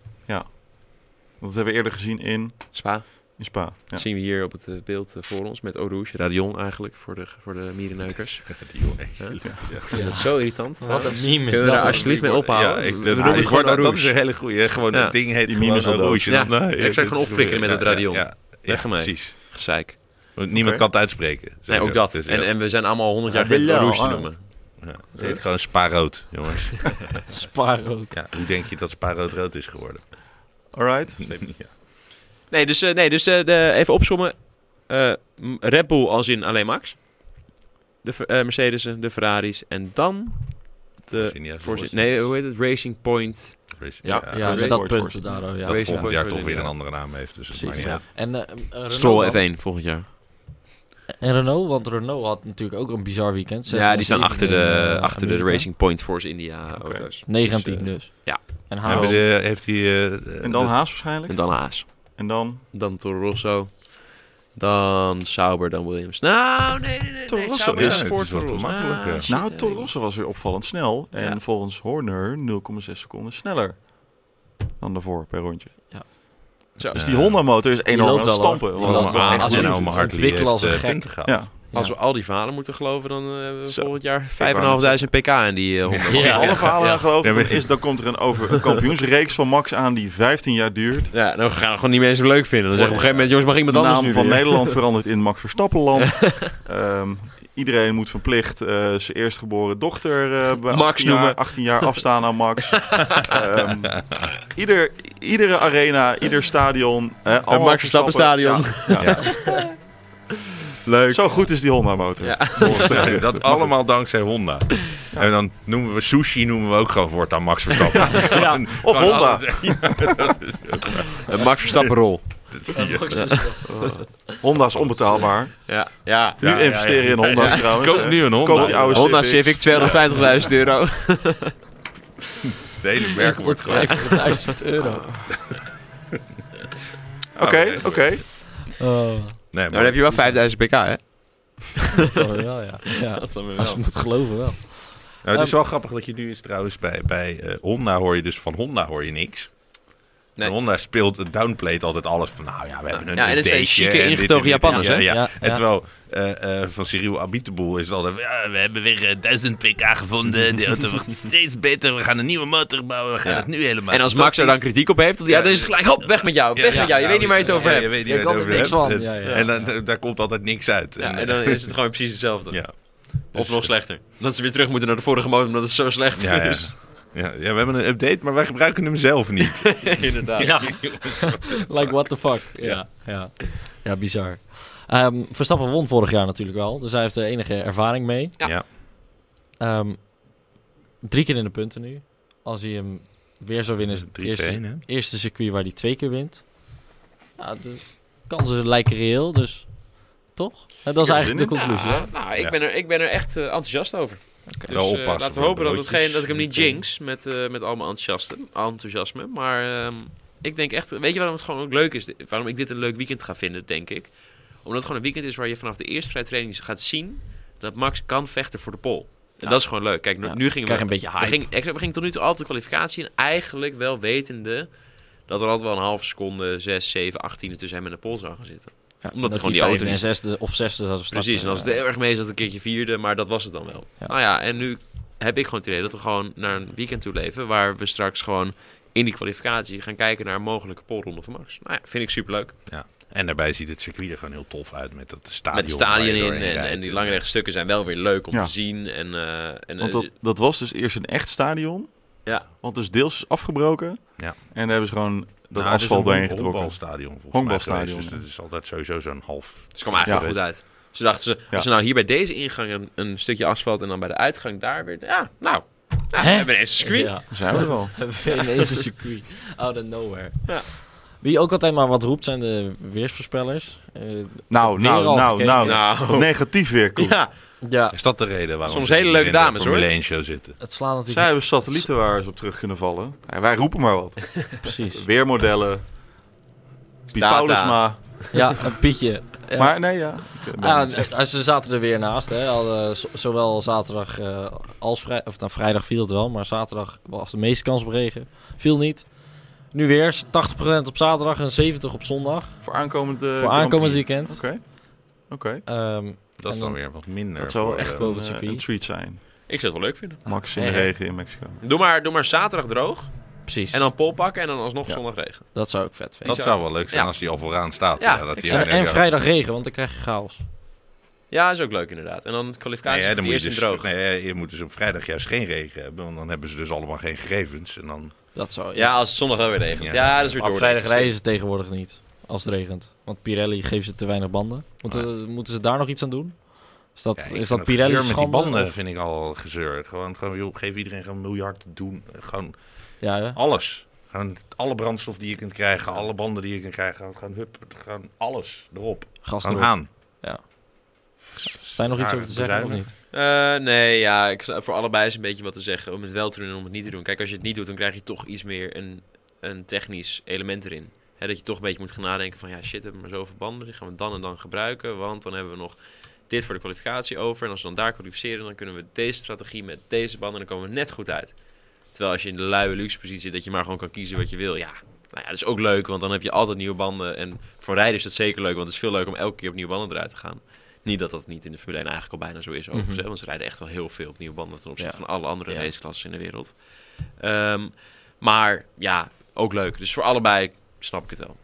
[SPEAKER 1] Dat hebben we eerder gezien in,
[SPEAKER 2] Spa.
[SPEAKER 1] in Spa. Ja.
[SPEAKER 2] Dat zien we hier op het eh, beeld eh, voor ons met Eau Rouge. Radion eigenlijk, voor de, voor de mierenneukers.
[SPEAKER 4] Die jongen.
[SPEAKER 2] Huh? Ik
[SPEAKER 3] Ja.
[SPEAKER 2] vind dat zo irritant.
[SPEAKER 3] Wat een meme is
[SPEAKER 2] Kunnen we daar
[SPEAKER 3] dat.
[SPEAKER 2] alsjeblieft mee ophouden?
[SPEAKER 4] Ja, ik,
[SPEAKER 2] We
[SPEAKER 4] dat,
[SPEAKER 2] noemen
[SPEAKER 4] nou,
[SPEAKER 2] het
[SPEAKER 4] ik
[SPEAKER 2] gewoon
[SPEAKER 4] word- dat,
[SPEAKER 2] Eau
[SPEAKER 4] is
[SPEAKER 2] Rouge.
[SPEAKER 4] een hele goeie. Gewoon,
[SPEAKER 2] Ja.
[SPEAKER 4] dat ding
[SPEAKER 1] Die
[SPEAKER 4] heet gewoon
[SPEAKER 1] meme is al
[SPEAKER 4] een
[SPEAKER 1] dood.
[SPEAKER 4] roosje.
[SPEAKER 2] Ja.
[SPEAKER 4] Nou,
[SPEAKER 2] Ik zou
[SPEAKER 4] dit
[SPEAKER 2] gewoon
[SPEAKER 4] is-
[SPEAKER 2] opflikkeren met het
[SPEAKER 4] ja,
[SPEAKER 2] radion.
[SPEAKER 4] Ja,
[SPEAKER 2] Weg
[SPEAKER 4] ja,
[SPEAKER 2] ermee.
[SPEAKER 4] precies.
[SPEAKER 2] Gezeik.
[SPEAKER 4] Want niemand
[SPEAKER 1] Oké.
[SPEAKER 4] kan het uitspreken. Dus,
[SPEAKER 2] Nee, ook dat. En, en we zijn allemaal 100 jaar
[SPEAKER 1] Ja,
[SPEAKER 2] geleden Eau
[SPEAKER 1] Bilal,
[SPEAKER 2] Rouge te
[SPEAKER 1] ah.
[SPEAKER 2] noemen.
[SPEAKER 4] het heet gewoon spaarrood, jongens.
[SPEAKER 3] Spaar ook.
[SPEAKER 4] ja, hoe denk je dat spaarrood rood is geworden?
[SPEAKER 1] Alright.
[SPEAKER 4] Ja.
[SPEAKER 2] Nee, dus, eh, nee, dus eh, de, even opzommen. Eh, m- Red Bull als in alleen Max. De Fer- eh, Mercedes'en, de Ferraris. En dan de...
[SPEAKER 4] Virginia,
[SPEAKER 2] Force-
[SPEAKER 4] zoals-
[SPEAKER 2] nee, hoe heet het? Racing Point.
[SPEAKER 3] Ja, ja,
[SPEAKER 4] dat
[SPEAKER 1] Racing
[SPEAKER 3] dat
[SPEAKER 1] Point
[SPEAKER 3] punt
[SPEAKER 1] Force.
[SPEAKER 3] daardoor, ja.
[SPEAKER 2] Racing
[SPEAKER 4] volgend
[SPEAKER 2] Point
[SPEAKER 4] jaar
[SPEAKER 2] Force
[SPEAKER 4] toch weer
[SPEAKER 2] India.
[SPEAKER 4] een andere naam heeft. Dus het
[SPEAKER 3] Precies.
[SPEAKER 4] maakt niet uit.
[SPEAKER 3] En, eh, eh, Renault
[SPEAKER 2] Stroll
[SPEAKER 3] dan?
[SPEAKER 2] F1 volgend jaar.
[SPEAKER 3] En Renault, want Renault had natuurlijk ook een bizar weekend.
[SPEAKER 2] Ja, die staan
[SPEAKER 3] 16e,
[SPEAKER 2] achter de,
[SPEAKER 3] eh,
[SPEAKER 2] achter de
[SPEAKER 3] Amerika.
[SPEAKER 2] Racing Point Force India
[SPEAKER 1] Oké.
[SPEAKER 2] eh, auto's.
[SPEAKER 3] 19
[SPEAKER 2] Dus, eh,
[SPEAKER 3] dus.
[SPEAKER 2] ja.
[SPEAKER 3] En
[SPEAKER 4] En
[SPEAKER 3] Harold.
[SPEAKER 4] bij de- heeft hij... eh,
[SPEAKER 1] En dan
[SPEAKER 4] de-
[SPEAKER 1] Haas waarschijnlijk.
[SPEAKER 2] eh, En dan Haas.
[SPEAKER 1] En dan
[SPEAKER 2] Dan Toro Rosso. Dan Sauber, dan Williams. Nou, nee, nee, nee.
[SPEAKER 1] Toro
[SPEAKER 2] nee,
[SPEAKER 1] Rosso
[SPEAKER 2] Sauber
[SPEAKER 1] is-
[SPEAKER 2] is
[SPEAKER 1] Ja,
[SPEAKER 4] het
[SPEAKER 2] voor
[SPEAKER 4] is wel
[SPEAKER 2] Toro
[SPEAKER 4] te
[SPEAKER 2] Rosso.
[SPEAKER 4] makkelijk, ja.
[SPEAKER 2] shit,
[SPEAKER 1] Nou,
[SPEAKER 2] eh,
[SPEAKER 1] Toro Rosso was weer opvallend snel. En
[SPEAKER 2] Ja.
[SPEAKER 1] volgens Horner 0,6 seconden sneller dan daarvoor per rondje.
[SPEAKER 3] Ja.
[SPEAKER 2] Zo.
[SPEAKER 1] Dus die Honda-motor is enorm
[SPEAKER 3] loopt
[SPEAKER 1] aan het
[SPEAKER 3] wel, hoor.
[SPEAKER 1] stampen.
[SPEAKER 3] Die
[SPEAKER 1] Want
[SPEAKER 3] loopt
[SPEAKER 4] Allemaal
[SPEAKER 3] wel.
[SPEAKER 1] het
[SPEAKER 4] aan.
[SPEAKER 1] echt
[SPEAKER 3] Als
[SPEAKER 4] En
[SPEAKER 1] goed.
[SPEAKER 3] we-
[SPEAKER 4] Oma Hartley
[SPEAKER 3] ontwikkelen als
[SPEAKER 4] heeft,
[SPEAKER 3] een
[SPEAKER 4] eh,
[SPEAKER 3] gek.
[SPEAKER 4] punten gehaald.
[SPEAKER 1] Ja,
[SPEAKER 2] Als we al die verhalen moeten geloven, dan eh, hebben we
[SPEAKER 1] Zo.
[SPEAKER 2] volgend jaar
[SPEAKER 1] wou net
[SPEAKER 2] 5.500 pk in die eh, Honda.
[SPEAKER 3] Ja.
[SPEAKER 1] Als alle verhalen aan geloven,
[SPEAKER 4] Ja, maar-
[SPEAKER 1] dan, is, dan komt er een, over, een kampioensreeks van Max aan die 15 jaar duurt.
[SPEAKER 2] Ja, dan gaan we gewoon die mensen leuk vinden. Dan zeggen we op een gegeven moment, jongens, mag
[SPEAKER 1] De
[SPEAKER 2] iemand anders
[SPEAKER 1] naam
[SPEAKER 2] nu
[SPEAKER 1] van
[SPEAKER 2] weer?
[SPEAKER 1] Nederland verandert in Max Verstappenland. Ehm iedereen moet verplicht eh, zijn eerstgeboren dochter eh, bij
[SPEAKER 2] Max
[SPEAKER 1] 18 jaar,
[SPEAKER 2] noemen.
[SPEAKER 1] 18 jaar afstaan aan Max. Ehm, ieder, iedere arena, ieder stadion. eh, allemaal
[SPEAKER 2] Max Verstappen stadion.
[SPEAKER 1] Ja, ja.
[SPEAKER 2] Leuk.
[SPEAKER 1] Zo goed is die Honda motor.
[SPEAKER 2] Ja.
[SPEAKER 4] Ja, dat allemaal dankzij Honda. En dan noemen we sushi noemen we ook gewoon voortaan Max Verstappen.
[SPEAKER 3] ja,
[SPEAKER 4] Gewoon
[SPEAKER 1] Honda.
[SPEAKER 4] alles- Ja, dat is-
[SPEAKER 2] Een Eh, Max Verstappen rol.
[SPEAKER 3] ja, Max Verstappen.
[SPEAKER 1] Honda is onbetaalbaar.
[SPEAKER 2] Ja, ja.
[SPEAKER 1] Nu investeren in Honda's trouwens.
[SPEAKER 4] Koop nu een Honda.
[SPEAKER 1] Koop die oude
[SPEAKER 2] Honda Civic,
[SPEAKER 1] Civics.
[SPEAKER 2] 250.000 euro.
[SPEAKER 4] De hele merk wordt gewoon...
[SPEAKER 3] 500.000 euro.
[SPEAKER 1] Oké, oké.
[SPEAKER 3] Oh,
[SPEAKER 4] Nee,
[SPEAKER 2] Maar dan heb je wel 5000 pk, hè?
[SPEAKER 3] dat kan wel, ja. ja. Als je moet geloven wel.
[SPEAKER 4] Nou,
[SPEAKER 2] Ehm,
[SPEAKER 4] het is wel grappig dat je nu is trouwens bij, bij eh, Honda hoor je dus van Honda hoor je niks.
[SPEAKER 2] Nee.
[SPEAKER 4] En Honda speelt het downplayt altijd alles van nou ja we hebben een
[SPEAKER 2] Ja, en dat zijn
[SPEAKER 4] ideetje
[SPEAKER 2] chique,
[SPEAKER 4] en dit en
[SPEAKER 2] ingetogen
[SPEAKER 4] dit en-
[SPEAKER 2] Japanners,
[SPEAKER 4] ja,
[SPEAKER 2] hè?
[SPEAKER 4] Ja,
[SPEAKER 3] Ja,
[SPEAKER 4] En
[SPEAKER 3] ja.
[SPEAKER 4] terwijl eh, eh, van Cyril Abiteboel is het altijd van, ja, we hebben weer eh, 1000 pk gevonden, de auto wordt steeds beter, we gaan een nieuwe motor bouwen, we gaan
[SPEAKER 2] Ja.
[SPEAKER 4] het nu helemaal.
[SPEAKER 2] En als Max er dan kritiek op heeft, op die- ja, dan is het gelijk, hop, weg met jou, weg met jou. Je weet niet waar je het over
[SPEAKER 4] nou, ja,
[SPEAKER 2] hebt.
[SPEAKER 4] Je weet niet
[SPEAKER 3] Je
[SPEAKER 4] waar
[SPEAKER 3] kan
[SPEAKER 4] je
[SPEAKER 3] er
[SPEAKER 4] het over
[SPEAKER 3] niks
[SPEAKER 4] hebt.
[SPEAKER 3] van. Ja, ja.
[SPEAKER 4] En dan, daar komt altijd niks uit. eh,
[SPEAKER 2] Ja, en dan is het gewoon precies hetzelfde.
[SPEAKER 4] ja.
[SPEAKER 2] Of nog slechter. Dat ze weer terug moeten naar de vorige motor, omdat het zo slecht
[SPEAKER 4] Ja, ja.
[SPEAKER 2] is.
[SPEAKER 4] Ja, ja, we hebben een update, maar wij gebruiken hem zelf niet.
[SPEAKER 2] Inderdaad.
[SPEAKER 3] Ja. like what the fuck. Ja, ja. ja bizar. Ehm, Verstappen won vorig jaar natuurlijk wel. Dus hij heeft de enige ervaring mee.
[SPEAKER 2] Ja.
[SPEAKER 4] Ja.
[SPEAKER 3] Ehm, drie keer in de punten nu. Als hij hem weer zou winnen, is het eerste,
[SPEAKER 4] 3-2,
[SPEAKER 2] dus,
[SPEAKER 4] hè?
[SPEAKER 3] eerste circuit waar hij twee keer wint. Ja, de kansen lijken reëel, dus toch? Hè, dat is eigenlijk de conclusie. hè?
[SPEAKER 2] nou, ik,
[SPEAKER 4] Ja.
[SPEAKER 2] ben er, ik ben er echt eh, enthousiast over. Dus,
[SPEAKER 4] Wel
[SPEAKER 2] eh,
[SPEAKER 4] oppassen
[SPEAKER 2] laten
[SPEAKER 4] voor
[SPEAKER 2] we hopen dat,
[SPEAKER 4] broodjes.
[SPEAKER 2] het geen, dat ik hem niet jinx met, eh, met al mijn enthousiaste- enthousiasme. Maar ehm, ik denk echt... Weet je waarom het gewoon ook leuk is? Di- Waarom ik dit een leuk weekend ga vinden, denk ik? Omdat het gewoon een weekend is waar je vanaf de eerste vrije training gaat zien... dat Max kan vechten voor de pole. En
[SPEAKER 3] Ja.
[SPEAKER 2] dat is gewoon leuk. Kijk, nu,
[SPEAKER 3] Ja,
[SPEAKER 2] nu gingen
[SPEAKER 3] krijg
[SPEAKER 2] we...
[SPEAKER 3] een beetje
[SPEAKER 2] We
[SPEAKER 3] hype.
[SPEAKER 2] gingen, we gingen tot nu toe altijd de kwalificatie en eigenlijk wel wetende dat er altijd wel een halve seconde, 6, 7, 18 tussen hem en de Pool zou gaan zitten.
[SPEAKER 3] Ja,
[SPEAKER 2] Omdat
[SPEAKER 3] dat
[SPEAKER 2] gewoon die
[SPEAKER 3] hij
[SPEAKER 2] auto
[SPEAKER 3] vijfde en
[SPEAKER 2] niet-
[SPEAKER 3] zesde of zesde zou starten.
[SPEAKER 2] Precies, en als het
[SPEAKER 3] Ja.
[SPEAKER 2] heel erg mee zat, een keertje vierde, maar dat was het dan wel.
[SPEAKER 3] Ja.
[SPEAKER 2] Nou ja, en nu heb ik gewoon het idee dat we gewoon naar een weekend toe leven waar we straks gewoon in die kwalificatie gaan kijken naar een mogelijke polronde van Max. Nou ja, vind ik superleuk.
[SPEAKER 4] En daarbij ziet het circuit er gewoon heel tof uit met dat stadion.
[SPEAKER 2] Met de
[SPEAKER 4] waar
[SPEAKER 2] stadion
[SPEAKER 4] je
[SPEAKER 2] in
[SPEAKER 4] doorheen
[SPEAKER 2] en,
[SPEAKER 4] rijdt. eh.
[SPEAKER 2] en die lange rechte stukken zijn wel weer leuk om
[SPEAKER 1] Ja.
[SPEAKER 2] te zien. En, eh, en,
[SPEAKER 1] Want
[SPEAKER 2] eh,
[SPEAKER 1] dat, dat was dus eerst een echt stadion.
[SPEAKER 2] Ja.
[SPEAKER 1] Want dus deels is afgebroken.
[SPEAKER 4] Ja.
[SPEAKER 1] En daar hebben ze gewoon dat
[SPEAKER 4] Nou, het is
[SPEAKER 1] asfalt
[SPEAKER 4] een
[SPEAKER 1] doorheen
[SPEAKER 4] hong-
[SPEAKER 1] getrokken.
[SPEAKER 4] Honkbalstadion volgens
[SPEAKER 1] Honkbalstadion,
[SPEAKER 4] mij geweest,
[SPEAKER 1] ja.
[SPEAKER 4] Dus het is altijd sowieso zo'n half...
[SPEAKER 2] Dus het kwam eigenlijk
[SPEAKER 1] Ja.
[SPEAKER 2] wel goed uit. Ze dachten ze, als
[SPEAKER 1] Ja.
[SPEAKER 2] we nou hier bij deze ingang een, een stukje asfalt en dan bij de uitgang daar weer. Ja, nou, nou we
[SPEAKER 3] Hè?
[SPEAKER 2] hebben ineens een circuit.
[SPEAKER 3] Ja.
[SPEAKER 1] Daar zijn we er wel.
[SPEAKER 3] Hebben we ineens een circuit. Out of nowhere.
[SPEAKER 2] Ja.
[SPEAKER 3] Wie ook altijd maar wat roept zijn de weersvoorspellers. Eh,
[SPEAKER 1] Nou,
[SPEAKER 3] Weer
[SPEAKER 1] nou,
[SPEAKER 3] al
[SPEAKER 1] nou,
[SPEAKER 3] gekeken.
[SPEAKER 1] nou.
[SPEAKER 2] Nou,
[SPEAKER 1] Negatief weer, Koen.
[SPEAKER 2] ja,
[SPEAKER 3] ja,
[SPEAKER 4] Is dat de reden waarom
[SPEAKER 2] Soms
[SPEAKER 4] ze
[SPEAKER 2] hele
[SPEAKER 4] niet
[SPEAKER 2] leuke
[SPEAKER 4] in de
[SPEAKER 2] dames, hoor.
[SPEAKER 4] Formule 1 show zitten?
[SPEAKER 3] het slaat
[SPEAKER 1] Zij
[SPEAKER 3] natuurlijk
[SPEAKER 1] hebben satellieten waar ze op terug kunnen vallen. Ja, wij roepen maar wat.
[SPEAKER 3] niet precies.
[SPEAKER 1] Weermodellen. Piet
[SPEAKER 2] Data.
[SPEAKER 1] Paulusma.
[SPEAKER 3] Ja, een pietje. Ja.
[SPEAKER 1] Maar nee, ja. Ik ben-
[SPEAKER 3] Ah, eh, ze zaten er weer naast. Hè. Hadden z- zowel zaterdag eh, als vrijdag. Of nou, vrijdag viel het wel, maar zaterdag was de meeste kans op regen. Viel niet. Nu weer 80% op zaterdag en 70% op zondag.
[SPEAKER 1] Voor aankomend eh,
[SPEAKER 3] voor
[SPEAKER 1] Grand
[SPEAKER 3] aankomend
[SPEAKER 1] Prix.
[SPEAKER 3] weekend.
[SPEAKER 1] Oké. Oké.
[SPEAKER 3] Ehm,
[SPEAKER 4] Dat
[SPEAKER 3] En
[SPEAKER 4] is
[SPEAKER 3] dan-
[SPEAKER 4] dan weer wat minder.
[SPEAKER 1] Dat zou
[SPEAKER 4] voor,
[SPEAKER 1] wel echt
[SPEAKER 4] eh,
[SPEAKER 1] een,
[SPEAKER 3] Boven het
[SPEAKER 1] eh,
[SPEAKER 3] circuit. Ah,
[SPEAKER 1] een treat zijn.
[SPEAKER 2] ik zou het wel leuk vinden.
[SPEAKER 1] Max in de
[SPEAKER 3] Nee, hè.
[SPEAKER 1] regen in Mexico.
[SPEAKER 2] Doe maar, doe maar zaterdag droog
[SPEAKER 3] precies.
[SPEAKER 2] en dan pol pakken en dan alsnog
[SPEAKER 1] Ja.
[SPEAKER 2] zondag regen.
[SPEAKER 3] dat zou ik vet vinden.
[SPEAKER 4] Dat zou wel leuk zijn
[SPEAKER 2] Ja.
[SPEAKER 4] als die al vooraan staat.
[SPEAKER 2] Ja,
[SPEAKER 4] Ja, dat die
[SPEAKER 2] zou-
[SPEAKER 3] En,
[SPEAKER 4] eigenlijk
[SPEAKER 3] en
[SPEAKER 4] ook-
[SPEAKER 3] vrijdag regen, want dan krijg je chaos.
[SPEAKER 2] Ja, is ook leuk inderdaad. En dan kwalificatie
[SPEAKER 4] Nee,
[SPEAKER 2] voor
[SPEAKER 4] hè,
[SPEAKER 2] het
[SPEAKER 4] dan moet je,
[SPEAKER 2] eerst in
[SPEAKER 4] dus,
[SPEAKER 2] droog.
[SPEAKER 4] nee, je moet dus op vrijdag juist geen regen hebben, want dan hebben ze dus allemaal geen gegevens. En dan,
[SPEAKER 3] Dat zou
[SPEAKER 2] Ja, als het zondag wel weer regent. Ja,
[SPEAKER 4] Ja.
[SPEAKER 2] dat is weer
[SPEAKER 3] Maar
[SPEAKER 2] door.
[SPEAKER 3] op vrijdag rijden ze tegenwoordig niet. Als het regent. Want Pirelli geeft ze te weinig banden. Moeten, moeten ze daar nog iets aan doen? Is dat,
[SPEAKER 4] Ja, ik
[SPEAKER 3] is
[SPEAKER 4] vind
[SPEAKER 3] dat
[SPEAKER 4] het
[SPEAKER 3] Pirelli
[SPEAKER 4] gezeur met die
[SPEAKER 3] schande?
[SPEAKER 4] banden
[SPEAKER 3] Of-
[SPEAKER 4] vind ik al gezeur. Gewoon, gewoon joh, geef iedereen gewoon een miljard te doen. Gewoon
[SPEAKER 3] Ja, ja.
[SPEAKER 4] Alles. Gewoon alle brandstof die je kunt krijgen, alle banden die je kunt krijgen. Gewoon, hup, gewoon alles erop.
[SPEAKER 3] Gas
[SPEAKER 4] Gewoon
[SPEAKER 3] erop.
[SPEAKER 4] aan.
[SPEAKER 3] Sta je nog iets
[SPEAKER 4] Ja,
[SPEAKER 3] over te zeggen of niet?
[SPEAKER 2] Eh, nee, ja, ik, zou- voor allebei is een beetje wat te zeggen. Om het wel te doen en om het niet te doen. Kijk, als je het niet doet, dan krijg je toch iets meer een, een technisch element erin. Hè, dat je toch een beetje moet gaan nadenken van... ja, shit, we hebben maar zoveel banden. Die gaan we dan en dan gebruiken. Want dan hebben we nog dit voor de kwalificatie over. En als we dan daar kwalificeren, dan kunnen we deze strategie met deze banden... en dan komen we net goed uit. Terwijl als je in de luie luxe positie zit... dat je maar gewoon kan kiezen wat je wil. Ja, nou ja, dat is ook leuk, want dan heb je altijd nieuwe banden. En voor rijden is dat zeker leuk, want het is veel leuk om elke keer op nieuwe banden eruit te gaan. Niet dat dat niet in de Formule 1 eigenlijk al bijna zo is, overigens.
[SPEAKER 3] Mhm.
[SPEAKER 2] hè, Want ze rijden echt wel heel veel op nieuwe banden ten opzichte
[SPEAKER 3] Ja.
[SPEAKER 2] van alle andere
[SPEAKER 3] Ja.
[SPEAKER 2] raceklassen in de wereld. Ehm, maar ja, ook leuk. Dus voor allebei snap ik het wel.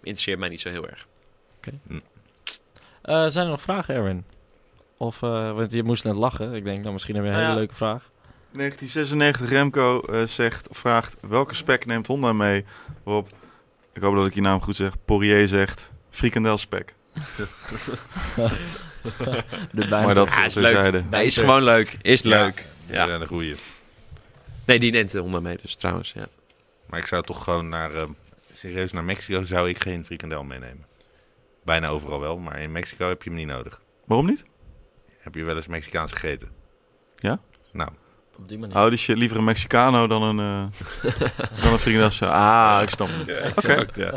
[SPEAKER 2] Interesseert mij niet zo heel erg.
[SPEAKER 3] Eh, zijn er nog vragen, Erwin? Of, eh, want je moest net lachen. Ik denk, nou, misschien heb je een
[SPEAKER 1] Nou
[SPEAKER 3] hele
[SPEAKER 1] ja.
[SPEAKER 3] leuke vraag.
[SPEAKER 1] 1996 Remco eh, zegt, vraagt welke spek neemt Honda mee? Waarop, ik hoop dat ik je naam goed zeg, Poirier zegt frikandelspek.
[SPEAKER 3] De
[SPEAKER 1] Maar dat is
[SPEAKER 2] Ja, is leuk.
[SPEAKER 1] terzijde.
[SPEAKER 2] Nee, is gewoon leuk. Is leuk.
[SPEAKER 4] Ja. aan de goede.
[SPEAKER 2] Nee, die neemt de Honda mee dus trouwens. Ja.
[SPEAKER 4] Maar ik zou toch gewoon naar, ehm, serieus naar Mexico zou ik geen frikandel meenemen. Bijna overal wel, maar in Mexico heb je hem niet nodig.
[SPEAKER 1] Waarom niet?
[SPEAKER 4] Heb je wel eens Mexicaans gegeten?
[SPEAKER 1] Ja?
[SPEAKER 4] Nou,
[SPEAKER 3] Op die manier.
[SPEAKER 1] Hou dus je liever een Mexicano dan een, eh dan een Frikandelse. Ah, ik snap het.
[SPEAKER 2] Exact, ja.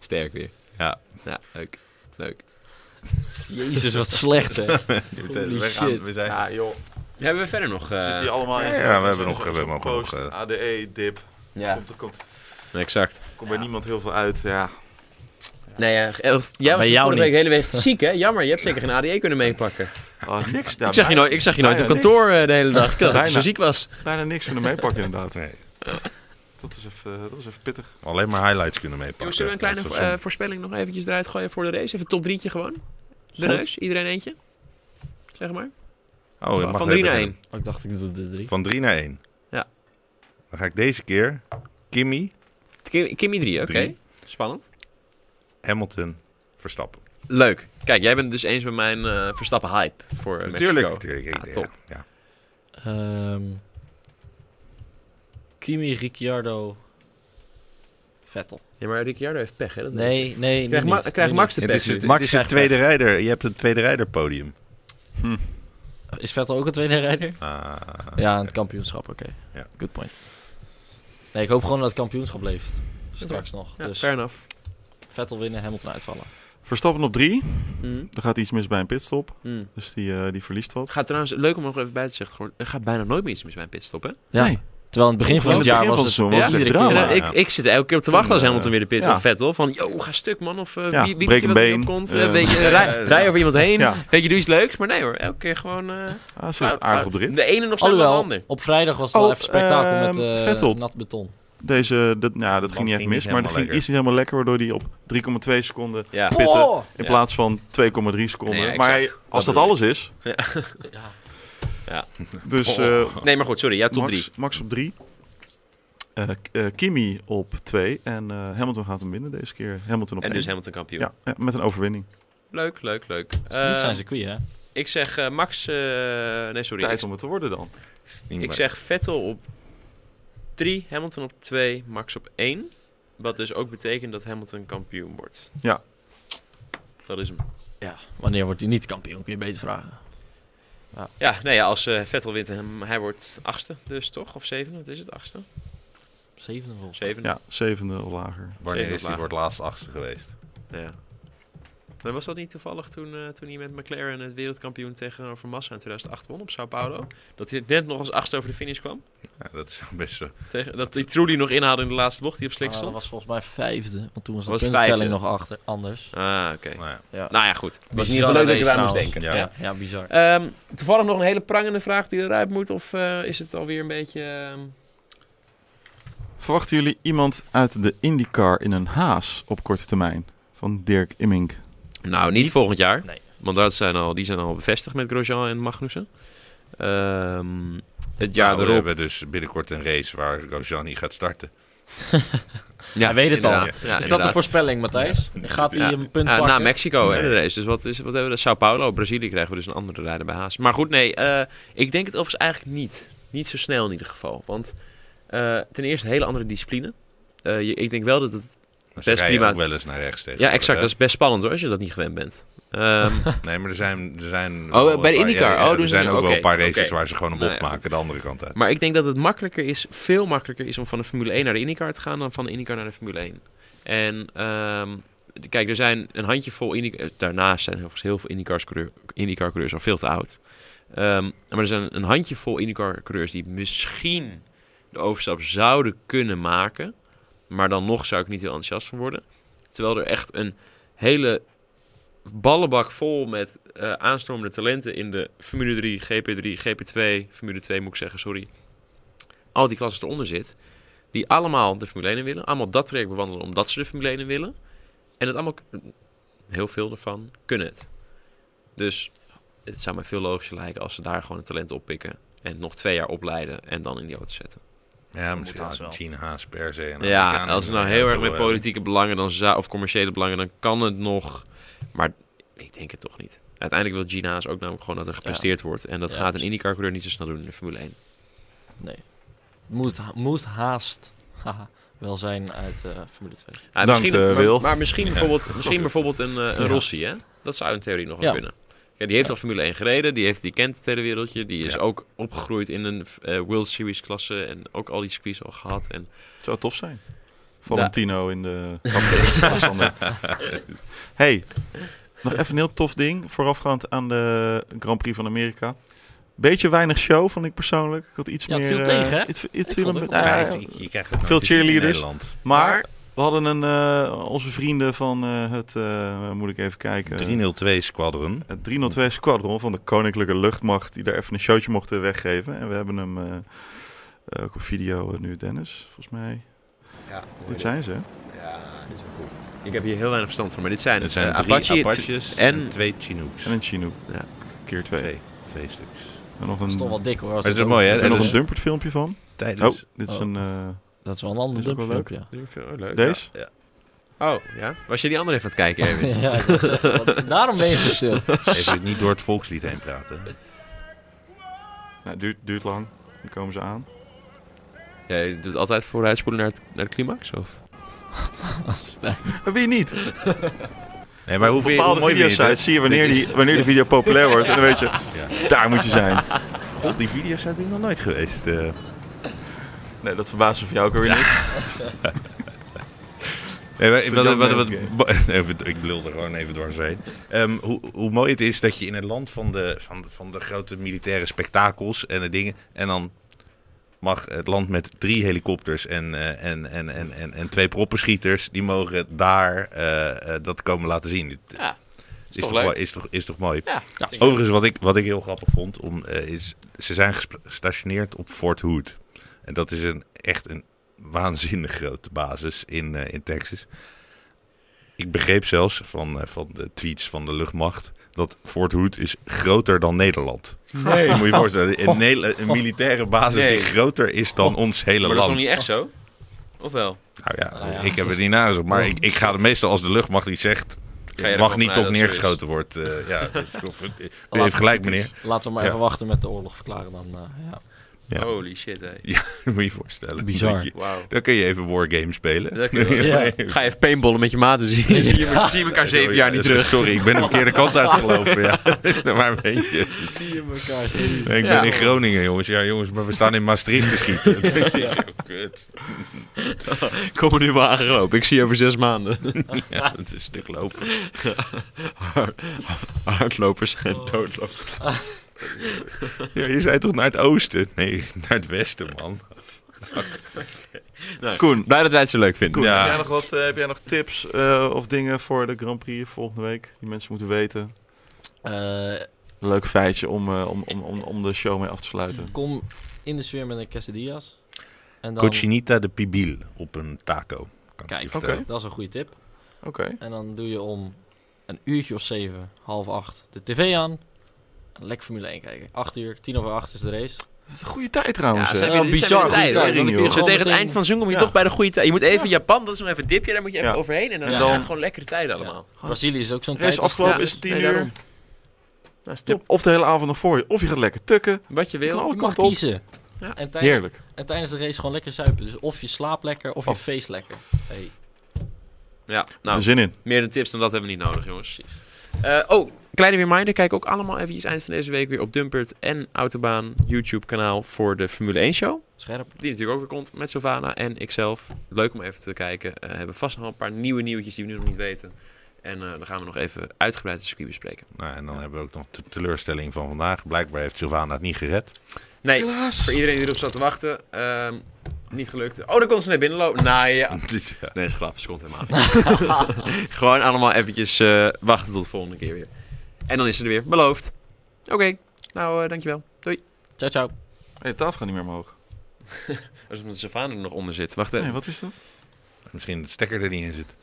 [SPEAKER 2] Sterk weer.
[SPEAKER 4] Ja.
[SPEAKER 2] Ja, leuk. Leuk.
[SPEAKER 3] Jezus, wat slecht hè. Holy
[SPEAKER 4] we gaan-
[SPEAKER 3] shit.
[SPEAKER 4] we zijn
[SPEAKER 1] Ja, joh.
[SPEAKER 2] Hebben we verder nog... eh,
[SPEAKER 1] Zitten hier allemaal in.
[SPEAKER 4] ja,
[SPEAKER 1] zo'n-
[SPEAKER 4] we hebben
[SPEAKER 1] zo'n-
[SPEAKER 4] nog- we
[SPEAKER 1] zo'n
[SPEAKER 4] hebben nog-
[SPEAKER 1] post,
[SPEAKER 4] nog, eh,
[SPEAKER 1] ADE, dip.
[SPEAKER 2] Ja,
[SPEAKER 1] Komt, er- komt,
[SPEAKER 2] exact.
[SPEAKER 1] komt bij niemand heel veel uit. Ja.
[SPEAKER 2] Nee, ja, echt, jij was
[SPEAKER 3] bij
[SPEAKER 2] de
[SPEAKER 3] jou
[SPEAKER 2] vorige week
[SPEAKER 3] niet.
[SPEAKER 2] de hele week ziek, hè? Jammer, je hebt zeker geen ADE kunnen meepakken.
[SPEAKER 1] Oh, niks daar.
[SPEAKER 2] ik, zag je nooit, ik zag je nooit op
[SPEAKER 1] bijna
[SPEAKER 2] kantoor eh, de hele dag. Ik dacht dat je zo
[SPEAKER 1] Bijna.
[SPEAKER 2] ziek was.
[SPEAKER 1] Bijna niks kunnen meepakken, inderdaad.
[SPEAKER 4] Nee.
[SPEAKER 1] Dat is even, eh, dat is even pittig.
[SPEAKER 4] alleen maar highlights kunnen meepakken.
[SPEAKER 2] Jongens, zullen we een
[SPEAKER 4] Dat
[SPEAKER 2] kleine
[SPEAKER 4] soort
[SPEAKER 2] eh, voorspelling nog eventjes eruit gooien voor de race? Even top drietje gewoon. De
[SPEAKER 1] Goed.
[SPEAKER 2] neus, iedereen eentje. Zeg maar.
[SPEAKER 4] dingen. oh, je mag
[SPEAKER 2] eh, Van
[SPEAKER 4] weer
[SPEAKER 2] 3 naar
[SPEAKER 4] beginnen.
[SPEAKER 2] 1.
[SPEAKER 3] Ik dacht ik doe de drie.
[SPEAKER 4] Van 3 naar 1.
[SPEAKER 2] Ja.
[SPEAKER 4] Dan ga ik deze keer Kimmy,
[SPEAKER 2] Kimmy 3, oké.
[SPEAKER 4] Drie.
[SPEAKER 2] Spannend.
[SPEAKER 4] Hamilton, Verstappen.
[SPEAKER 2] Leuk. Kijk, jij bent het dus eens met mijn eh, Verstappen hype voor eh, Mexico.
[SPEAKER 4] Natuurlijk. natuurlijk. Ik-
[SPEAKER 2] Ja, top.
[SPEAKER 4] Ja.
[SPEAKER 3] Ehm Kimi, Ricciardo, Vettel.
[SPEAKER 2] Ja, maar Ricciardo heeft pech, hè? Dat
[SPEAKER 3] Nee, nee,
[SPEAKER 2] Krijg
[SPEAKER 3] nu
[SPEAKER 2] Ma-
[SPEAKER 3] niet,
[SPEAKER 2] krijg
[SPEAKER 3] nu
[SPEAKER 2] Max
[SPEAKER 3] niet.
[SPEAKER 2] de
[SPEAKER 4] Het is,
[SPEAKER 2] pech
[SPEAKER 4] het,
[SPEAKER 2] nu.
[SPEAKER 3] Max
[SPEAKER 4] het is
[SPEAKER 3] krijgt
[SPEAKER 4] het tweede rijder. Je hebt het tweede rijderpodium.
[SPEAKER 3] Is Vettel ook een tweede rijder?
[SPEAKER 4] Ah,
[SPEAKER 3] Ja, een kampioenschap, oké.
[SPEAKER 4] Ja.
[SPEAKER 3] Good point. Nee, ik hoop gewoon dat het kampioenschap leeft. Straks nog.
[SPEAKER 2] Ja,
[SPEAKER 3] dus
[SPEAKER 2] fair enough.
[SPEAKER 3] Vettel winnen, Hamilton uitvallen.
[SPEAKER 1] Verstappen op drie.
[SPEAKER 2] Mm,
[SPEAKER 1] Er gaat iets mis bij een pitstop. Dus die, eh, die verliest wat.
[SPEAKER 2] Het gaat trouwens, leuk om nog even bij te zeggen, gewoon, er gaat bijna nooit meer iets mis bij een pitstop, hè?
[SPEAKER 3] Ja.
[SPEAKER 1] Nee.
[SPEAKER 3] Terwijl in het begin van
[SPEAKER 1] In
[SPEAKER 3] het
[SPEAKER 1] het
[SPEAKER 3] jaar
[SPEAKER 1] begin
[SPEAKER 3] was
[SPEAKER 1] van
[SPEAKER 3] het,
[SPEAKER 1] het seizoen was het
[SPEAKER 3] iedere
[SPEAKER 1] drama.
[SPEAKER 3] keer-
[SPEAKER 2] En, eh,
[SPEAKER 4] ja.
[SPEAKER 2] ik, ik zit elke keer op te wachten als
[SPEAKER 1] Toen,
[SPEAKER 2] Hamilton weer de pit
[SPEAKER 1] ja.
[SPEAKER 2] of Vettel. Van, yo, ga stuk man, of eh,
[SPEAKER 1] Ja,
[SPEAKER 2] wie, wie
[SPEAKER 1] breek
[SPEAKER 2] denk je dat er
[SPEAKER 1] een been.
[SPEAKER 2] opkomt?
[SPEAKER 1] Eh,
[SPEAKER 2] Eh, weet je,
[SPEAKER 4] Ja,
[SPEAKER 2] rij,
[SPEAKER 4] ja.
[SPEAKER 2] rij over iemand heen,
[SPEAKER 1] Ja.
[SPEAKER 2] weet je, doe iets leuks. Maar nee hoor, elke keer gewoon... eh,
[SPEAKER 1] Ah, ze zit aardig op de rit.
[SPEAKER 2] De ene nog sneller dan de
[SPEAKER 3] Alhoewel,
[SPEAKER 2] ander.
[SPEAKER 3] op vrijdag was het
[SPEAKER 1] Oh,
[SPEAKER 3] wel even spektakel met
[SPEAKER 1] ehm,
[SPEAKER 3] eh,
[SPEAKER 1] Vettel.
[SPEAKER 3] nat beton.
[SPEAKER 1] Deze, dat, nou, dat ging niet echt
[SPEAKER 4] ging
[SPEAKER 1] mis,
[SPEAKER 4] niet
[SPEAKER 1] maar dat
[SPEAKER 4] helemaal
[SPEAKER 1] ging iets niet helemaal lekker, waardoor hij op 3,2 seconden
[SPEAKER 2] Ja.
[SPEAKER 1] pitten
[SPEAKER 3] Oh!
[SPEAKER 1] in
[SPEAKER 2] Ja.
[SPEAKER 1] plaats van 2,3 seconden.
[SPEAKER 2] Nee, ja,
[SPEAKER 1] maar hij-
[SPEAKER 2] exact.
[SPEAKER 1] als
[SPEAKER 2] Dat
[SPEAKER 1] dat,
[SPEAKER 2] bedoel
[SPEAKER 1] alles is,
[SPEAKER 3] Ja.
[SPEAKER 1] dus
[SPEAKER 4] Oh.
[SPEAKER 1] eh,
[SPEAKER 2] Nee, maar goed, sorry, jouw top 3.
[SPEAKER 1] Max, Max op 3, eh, Kimi op 2 en eh, Hamilton gaat hem winnen deze keer. Hamilton op
[SPEAKER 2] En
[SPEAKER 1] 1.
[SPEAKER 2] dus Hamilton kampioen.
[SPEAKER 1] ja, ja, met een overwinning.
[SPEAKER 2] Leuk, leuk, leuk.
[SPEAKER 3] Niet
[SPEAKER 2] Eh,
[SPEAKER 3] Dus zijn circuit, hè?
[SPEAKER 2] ik zeg eh, Max... eh, nee, sorry.
[SPEAKER 1] Tijd
[SPEAKER 2] ik-
[SPEAKER 1] om het te worden dan.
[SPEAKER 4] is niet
[SPEAKER 2] Ik
[SPEAKER 4] waar.
[SPEAKER 2] zeg Vettel op 3, Hamilton op 2, Max op 1. Wat dus ook betekent dat Hamilton kampioen wordt.
[SPEAKER 1] Ja.
[SPEAKER 2] Dat is hem.
[SPEAKER 3] Ja. Wanneer wordt hij niet kampioen? Kun je beter vragen.
[SPEAKER 2] Ja, nee, ja, als eh, Vettel wint, hem, hij wordt achtste dus toch? Of zevende? Wat is het? Achtste?
[SPEAKER 3] Zevende volgens mij.
[SPEAKER 2] Zevende?
[SPEAKER 1] Ja, zevende of lager.
[SPEAKER 4] Wanneer is hij
[SPEAKER 2] laag.
[SPEAKER 4] voor het laatst achtste geweest?
[SPEAKER 2] Nou Ja. Maar was dat niet toevallig toen, eh, toen hij met McLaren het wereldkampioen tegenover Massa in 2008 won op Sao Paulo? Dat hij net nog als achtste over de finish kwam?
[SPEAKER 4] Ja, dat is best zo.
[SPEAKER 2] Tegen, dat hij Trulli nog inhaalde in de laatste bocht die op slik
[SPEAKER 3] Ah, dat
[SPEAKER 2] stond?
[SPEAKER 3] was volgens mij vijfde, want toen was de
[SPEAKER 2] Was
[SPEAKER 3] puntentelling
[SPEAKER 2] vijfde.
[SPEAKER 3] nog achter, anders.
[SPEAKER 2] Ah, oké.
[SPEAKER 4] Nou ja.
[SPEAKER 2] Nou ja, goed. Was in
[SPEAKER 3] Bizarre
[SPEAKER 2] ieder geval leuk dat je
[SPEAKER 3] race
[SPEAKER 2] daar moest
[SPEAKER 3] trouwens.
[SPEAKER 2] denken.
[SPEAKER 4] Ja.
[SPEAKER 2] Ja.
[SPEAKER 3] Ja, ja bizar.
[SPEAKER 2] Ehm, toevallig nog een hele prangende vraag die eruit moet, of eh, is het alweer een beetje. ehm,
[SPEAKER 1] Verwachten jullie iemand uit de IndyCar in een haas op korte termijn? Van Dirk Immink.
[SPEAKER 2] Nou, niet, volgend jaar.
[SPEAKER 3] Nee.
[SPEAKER 2] Want dat zijn al, die zijn al bevestigd met Grosjean en Magnussen. Ehm, het jaar
[SPEAKER 4] Nou, we
[SPEAKER 2] erop.
[SPEAKER 4] hebben dus binnenkort een race waar Gojani gaat starten.
[SPEAKER 2] Ja,
[SPEAKER 3] Hij weet het al.
[SPEAKER 2] inderdaad. Ja,
[SPEAKER 3] is dat de
[SPEAKER 2] inderdaad.
[SPEAKER 3] voorspelling, Matthijs? Gaat hij
[SPEAKER 2] Ja.
[SPEAKER 3] een punt
[SPEAKER 2] Ah,
[SPEAKER 3] pakken?
[SPEAKER 2] na Mexico hè, de
[SPEAKER 4] Nee.
[SPEAKER 2] race. Dus wat, is, wat hebben we? dan? Sao Paulo, Brazilië krijgen we dus een andere rijder bij Haas. Maar goed, nee. eh, ik denk het overigens eigenlijk niet. Niet zo snel in ieder geval. Want eh, ten eerste een hele andere discipline. Eh, je- ik denk wel dat het
[SPEAKER 4] Dus
[SPEAKER 2] Best
[SPEAKER 4] Best
[SPEAKER 2] prima.
[SPEAKER 4] ook wel eens naar rechts tegen.
[SPEAKER 2] Ja, exact. Dat is best spannend hoor, als je dat niet gewend bent. Ehm,
[SPEAKER 4] Nee, maar er zijn... Er zijn
[SPEAKER 2] bij
[SPEAKER 4] wel een
[SPEAKER 2] de
[SPEAKER 4] paar-
[SPEAKER 2] IndyCar.
[SPEAKER 4] ja, ja,
[SPEAKER 2] Oh, doen
[SPEAKER 4] er
[SPEAKER 2] ze
[SPEAKER 4] zijn
[SPEAKER 2] niet.
[SPEAKER 4] ook wel
[SPEAKER 2] Oké,
[SPEAKER 4] een paar races
[SPEAKER 2] oké.
[SPEAKER 4] waar ze gewoon een
[SPEAKER 2] Nou
[SPEAKER 4] bocht
[SPEAKER 2] ja, goed.
[SPEAKER 4] maken de andere kant uit.
[SPEAKER 2] maar ik denk dat het makkelijker is, veel makkelijker is om van de Formule 1 naar de IndyCar te gaan dan van de IndyCar naar de Formule 1. En ehm, kijk, er zijn een handjevol IndyCar. Daarnaast zijn overigens heel veel IndyCar-coureurs IndyCar coureurs al veel te oud. Ehm, maar er zijn een handjevol IndyCar-coureurs die misschien de overstap zouden kunnen maken. Maar dan nog zou ik niet heel enthousiast van worden. Terwijl er echt een hele ballenbak vol met eh, aanstormende talenten in de Formule 3, GP3, GP2, Formule 2 moet ik zeggen, sorry. Al die klassen eronder zit. Die allemaal de Formule 1 in willen. Allemaal dat traject bewandelen omdat ze de Formule 1 in willen. En het allemaal, heel veel daarvan, kunnen het. Dus het zou mij veel logischer lijken als ze daar gewoon een talent oppikken. En nog twee jaar opleiden en dan in die auto zetten.
[SPEAKER 4] Ja,
[SPEAKER 3] moet
[SPEAKER 4] misschien
[SPEAKER 3] haast wel.
[SPEAKER 4] als Gene Haas per se. een
[SPEAKER 2] Ja,
[SPEAKER 4] Amerikaan
[SPEAKER 2] als het
[SPEAKER 4] in
[SPEAKER 2] nou
[SPEAKER 4] de
[SPEAKER 2] heel erg
[SPEAKER 4] auto,
[SPEAKER 2] met
[SPEAKER 4] eh,
[SPEAKER 2] politieke belangen dan zou, of commerciële belangen, dan kan het nog. Maar Ik denk het toch niet. Uiteindelijk wil Gina's ook namelijk gewoon dat er gepresteerd wordt. En dat
[SPEAKER 3] Ja,
[SPEAKER 2] gaat een
[SPEAKER 3] precies.
[SPEAKER 2] IndyCar-coureur niet zo snel doen in de Formule 1.
[SPEAKER 3] Moet, ha- moet haast haha, wel zijn uit eh, Formule 2.
[SPEAKER 2] Ja,
[SPEAKER 1] Bedankt,
[SPEAKER 2] Ah, misschien,
[SPEAKER 1] eh,
[SPEAKER 2] maar,
[SPEAKER 1] Wil.
[SPEAKER 2] maar misschien bijvoorbeeld, misschien bijvoorbeeld een, eh, een Rossi, hè? Dat zou in theorie nog wel
[SPEAKER 3] Ja.
[SPEAKER 2] kunnen. Ja, die heeft al Formule 1 gereden, die, heeft, die kent het hele wereldje. Die is
[SPEAKER 4] Ja.
[SPEAKER 2] ook opgegroeid in een eh, World Series klasse en ook al die circuits al gehad. En
[SPEAKER 1] Het zou tof zijn. Valentino in de kampioenschap. hey, nog even een heel tof ding voorafgaand aan de Grand Prix van Amerika. Beetje weinig show, vond ik persoonlijk. Ik had iets
[SPEAKER 3] Ja, het
[SPEAKER 1] meer...
[SPEAKER 3] viel
[SPEAKER 1] eh,
[SPEAKER 3] tegen, hè?
[SPEAKER 1] iets- iets
[SPEAKER 3] Ik
[SPEAKER 1] viel
[SPEAKER 3] vond
[SPEAKER 1] hem-
[SPEAKER 3] het ook wel
[SPEAKER 1] ah,
[SPEAKER 4] eh, Ja, je, je krijgt het nou
[SPEAKER 1] Veel
[SPEAKER 4] het is in
[SPEAKER 1] cheerleaders.
[SPEAKER 4] Nederland.
[SPEAKER 1] Maar we hadden een, eh, onze vrienden van eh, het, eh, moet ik even kijken,
[SPEAKER 4] 302 Squadron.
[SPEAKER 1] het 302 Squadron van de Koninklijke Luchtmacht, die daar even een showtje mochten weggeven. En we hebben hem eh, eh, ook op video eh, nu, Dennis, volgens mij.
[SPEAKER 2] ja,
[SPEAKER 1] Dit zijn ze. hè?
[SPEAKER 2] Ik heb hier heel weinig verstand van, maar dit zijn,
[SPEAKER 4] Er zijn
[SPEAKER 2] eh,
[SPEAKER 4] drie
[SPEAKER 2] Apache, het-
[SPEAKER 4] Apaches en,
[SPEAKER 2] en
[SPEAKER 4] twee Chinooks.
[SPEAKER 1] En een Chinook.
[SPEAKER 2] Ja.
[SPEAKER 1] Keer twee.
[SPEAKER 4] Twee. Twee stuks.
[SPEAKER 1] En nog
[SPEAKER 3] Dat is
[SPEAKER 1] een,
[SPEAKER 3] toch wel dik hoor. als
[SPEAKER 4] Maar
[SPEAKER 3] dat
[SPEAKER 4] het is
[SPEAKER 3] ook-
[SPEAKER 4] mooi, hè?
[SPEAKER 1] er nog
[SPEAKER 4] Dus-
[SPEAKER 1] een Dumpert filmpje van. Oh,
[SPEAKER 4] Tijdens...
[SPEAKER 1] dit is
[SPEAKER 3] Oh.
[SPEAKER 1] een... eh,
[SPEAKER 3] Dat is wel een
[SPEAKER 1] Is
[SPEAKER 3] ander
[SPEAKER 1] ook wel
[SPEAKER 3] dumpfilm, ja.
[SPEAKER 2] Oh, leuk.
[SPEAKER 1] deze?
[SPEAKER 2] Oh, ja. Was je die andere even aan het kijken, Erwin?
[SPEAKER 3] ja ik wou zeggen, wat- daarom ben je zo stil.
[SPEAKER 4] Even niet door het volkslied heen praten.
[SPEAKER 1] Nou, duurt, duurt lang. Dan komen ze aan.
[SPEAKER 2] Jij doet altijd vooruitspoelen naar, het- naar de climax, of?
[SPEAKER 1] Wie niet?
[SPEAKER 4] Nee, maar hoe,
[SPEAKER 1] Bepaalde
[SPEAKER 4] hoe mooi vind je
[SPEAKER 1] videosites
[SPEAKER 4] het, hè?
[SPEAKER 1] zie je wanneer,
[SPEAKER 4] Dit is-
[SPEAKER 1] die, wanneer de video populair wordt. En dan weet je,
[SPEAKER 4] Ja.
[SPEAKER 1] daar moet je zijn.
[SPEAKER 4] God, die video's zijn ik nog nooit geweest. eh.
[SPEAKER 1] Nee, dat verbaast me voor jou ook weer niet.
[SPEAKER 4] Nee, maar-
[SPEAKER 1] It's a
[SPEAKER 4] wat-
[SPEAKER 1] young
[SPEAKER 4] wat-
[SPEAKER 1] man's
[SPEAKER 4] wat-
[SPEAKER 1] game.
[SPEAKER 4] bo- even- ik blul er gewoon even doorheen. Ehm hoe, hoe mooi het is dat je in het land van de, van, van de grote militaire spektakels en de dingen. En dan mag het land met drie helikopters en, eh, en, en, en, en, en twee proppenschieters. Die mogen daar eh, eh, dat komen laten zien. Het
[SPEAKER 2] Ja. Is,
[SPEAKER 4] Is
[SPEAKER 2] toch
[SPEAKER 4] toch,
[SPEAKER 2] leuk?
[SPEAKER 4] mooi- is, toch, is toch mooi?
[SPEAKER 2] Ja.
[SPEAKER 4] Overigens, wat ik, wat ik heel grappig vond, om, eh, is ze zijn gesp- gestationeerd op Fort Hood. En dat is een, echt een waanzinnig grote basis in, eh, in Texas. Ik begreep zelfs van, eh, van de tweets van de luchtmacht dat Fort Hood is groter dan Nederland. Nee. moet je je voorstellen, een, Nederla- een militaire basis
[SPEAKER 2] Nee. Oh.
[SPEAKER 4] die groter is dan ons hele
[SPEAKER 2] Maar dat is nog
[SPEAKER 4] land.
[SPEAKER 2] niet echt zo? Of wel?
[SPEAKER 4] Nou ja, ik heb het niet nagezocht, maar ik, ik ga er meestal als de luchtmacht iets zegt...
[SPEAKER 2] Oh. Ga je
[SPEAKER 4] Het
[SPEAKER 2] er
[SPEAKER 4] mag
[SPEAKER 2] wel
[SPEAKER 4] niet
[SPEAKER 2] vanuit
[SPEAKER 4] op
[SPEAKER 2] dat het zo is?
[SPEAKER 4] neergeschoten wordt. eh, ja, dat- of- u heeft gelijk, meneer.
[SPEAKER 3] Laten we maar
[SPEAKER 4] Ja.
[SPEAKER 3] even wachten met de oorlog verklaren dan. eh, ja.
[SPEAKER 4] Ja.
[SPEAKER 2] Holy shit, hé.
[SPEAKER 4] Moet je je voorstellen.
[SPEAKER 3] Bizar.
[SPEAKER 4] Dat je-
[SPEAKER 2] Wauw.
[SPEAKER 4] Dan kun je even wargame spelen.
[SPEAKER 2] Dat kun je
[SPEAKER 3] wel.
[SPEAKER 4] Ja.
[SPEAKER 2] Ga je even paintballen met je maten zien. Dan zie je, dan zie je elkaar zeven jaar niet terug.
[SPEAKER 4] Sorry, ik ben de verkeerde kant uitgelopen. Ja. Nou, maar een beetje.
[SPEAKER 3] Zie je elkaar,
[SPEAKER 4] Ik ben
[SPEAKER 2] Ja.
[SPEAKER 4] in Groningen, jongens. Ja, jongens, maar we staan in Maastricht te schieten. Dat is zo kut.
[SPEAKER 2] Kom er nu maar aangelopen. Ik zie je over zes maanden.
[SPEAKER 4] Ja, dat is een stuk lopen.
[SPEAKER 2] Hardlopers en doodlopers.
[SPEAKER 4] Ja, je zei toch naar het oosten? Nee, naar het westen, man.
[SPEAKER 1] Koen,
[SPEAKER 2] Blij dat wij het zo leuk vinden.
[SPEAKER 1] Koen
[SPEAKER 4] Ja.
[SPEAKER 1] heb, jij nog wat, eh, heb jij nog tips eh, of dingen voor de Grand Prix volgende week? Die mensen moeten weten.
[SPEAKER 3] Eh,
[SPEAKER 1] Een leuk feitje om, eh, om, om, om, om de show mee af te sluiten.
[SPEAKER 2] Mm.
[SPEAKER 3] kom in de sfeer met een quesadillas. En dan,
[SPEAKER 4] Cochinita de pibil op een taco. Kan ik je
[SPEAKER 3] Kijk,
[SPEAKER 4] vertellen.
[SPEAKER 3] dat is een goede tip.
[SPEAKER 1] Oké.
[SPEAKER 3] En dan doe je om een uurtje of zeven, half acht, de tv aan. En lekker Formule 1 kijken. Acht uur, tien over acht is de race.
[SPEAKER 1] Dat is een goede tijd trouwens.
[SPEAKER 2] Ja,
[SPEAKER 1] hè?
[SPEAKER 2] zijn
[SPEAKER 3] hè?
[SPEAKER 2] weer,
[SPEAKER 3] Bizar
[SPEAKER 2] bizar
[SPEAKER 3] goede
[SPEAKER 2] tijd.
[SPEAKER 3] timing,
[SPEAKER 2] Dan kun je
[SPEAKER 3] joh.
[SPEAKER 2] Zo tegen het
[SPEAKER 3] Gewoon
[SPEAKER 2] eind van zoen kom je
[SPEAKER 1] Ja.
[SPEAKER 2] toch bij de goede tijd. Je moet even Japan, dat is nog even een dipje. Daar moet je even
[SPEAKER 1] Ja.
[SPEAKER 2] overheen. En dan,
[SPEAKER 3] En
[SPEAKER 2] gaat
[SPEAKER 1] dan-
[SPEAKER 2] het gewoon lekkere tijden allemaal.
[SPEAKER 3] Brazilië is ook zo'n
[SPEAKER 1] race
[SPEAKER 3] tijd. als-
[SPEAKER 1] afgelopen
[SPEAKER 2] Ja,
[SPEAKER 1] is tien
[SPEAKER 2] nee, daarom.
[SPEAKER 1] uur. Je hebt of de hele avond nog voor je, of je gaat lekker tukken.
[SPEAKER 2] Wat je
[SPEAKER 1] Kan
[SPEAKER 2] wil.
[SPEAKER 1] alle
[SPEAKER 3] Je mag
[SPEAKER 1] kanten op.
[SPEAKER 3] kiezen.
[SPEAKER 2] Ja.
[SPEAKER 3] En, tijdens,
[SPEAKER 1] Heerlijk.
[SPEAKER 3] en tijdens de race gewoon lekker zuipen. Dus of je slaapt lekker, of je feest lekker. Hey.
[SPEAKER 2] Ja, nou,
[SPEAKER 1] Zin in.
[SPEAKER 2] meer dan tips dan dat hebben we niet nodig, jongens. Eh, oh, kleine reminder. Kijk ook allemaal eventjes eind van deze week weer op Dumpert en Autobaan YouTube kanaal voor de Formule 1 show.
[SPEAKER 3] Scherp.
[SPEAKER 2] Die natuurlijk ook weer komt met Sylvana en ikzelf. Leuk om even te kijken. Eh, We hebben vast nog wel een paar nieuwe nieuwtjes die we nu nog niet weten. En eh, dan gaan we nog even uitgebreid het circuit bespreken.
[SPEAKER 4] Nou, en dan hebben we ook nog de teleurstelling van vandaag. Blijkbaar heeft Sylvana het niet gered.
[SPEAKER 2] Nee, voor iedereen die erop zat te wachten. ehm, niet gelukt. Oh, daar kon ze naar binnen lopen. Nou ja.
[SPEAKER 4] Ja.
[SPEAKER 2] Nee, is grap. Ze komt helemaal niet. Gewoon allemaal eventjes eh, wachten tot de volgende keer weer. En dan is ze er weer. Beloofd. Oké. Nou, eh, dankjewel. Doei.
[SPEAKER 3] Ciao, ciao.
[SPEAKER 1] Hey, de tafel gaat niet meer omhoog.
[SPEAKER 2] Dat is omdat Sylvana er nog onder zit. Wacht
[SPEAKER 1] Nee,
[SPEAKER 2] even.
[SPEAKER 1] wat is dat?
[SPEAKER 4] Misschien dat de stekker er niet in zit.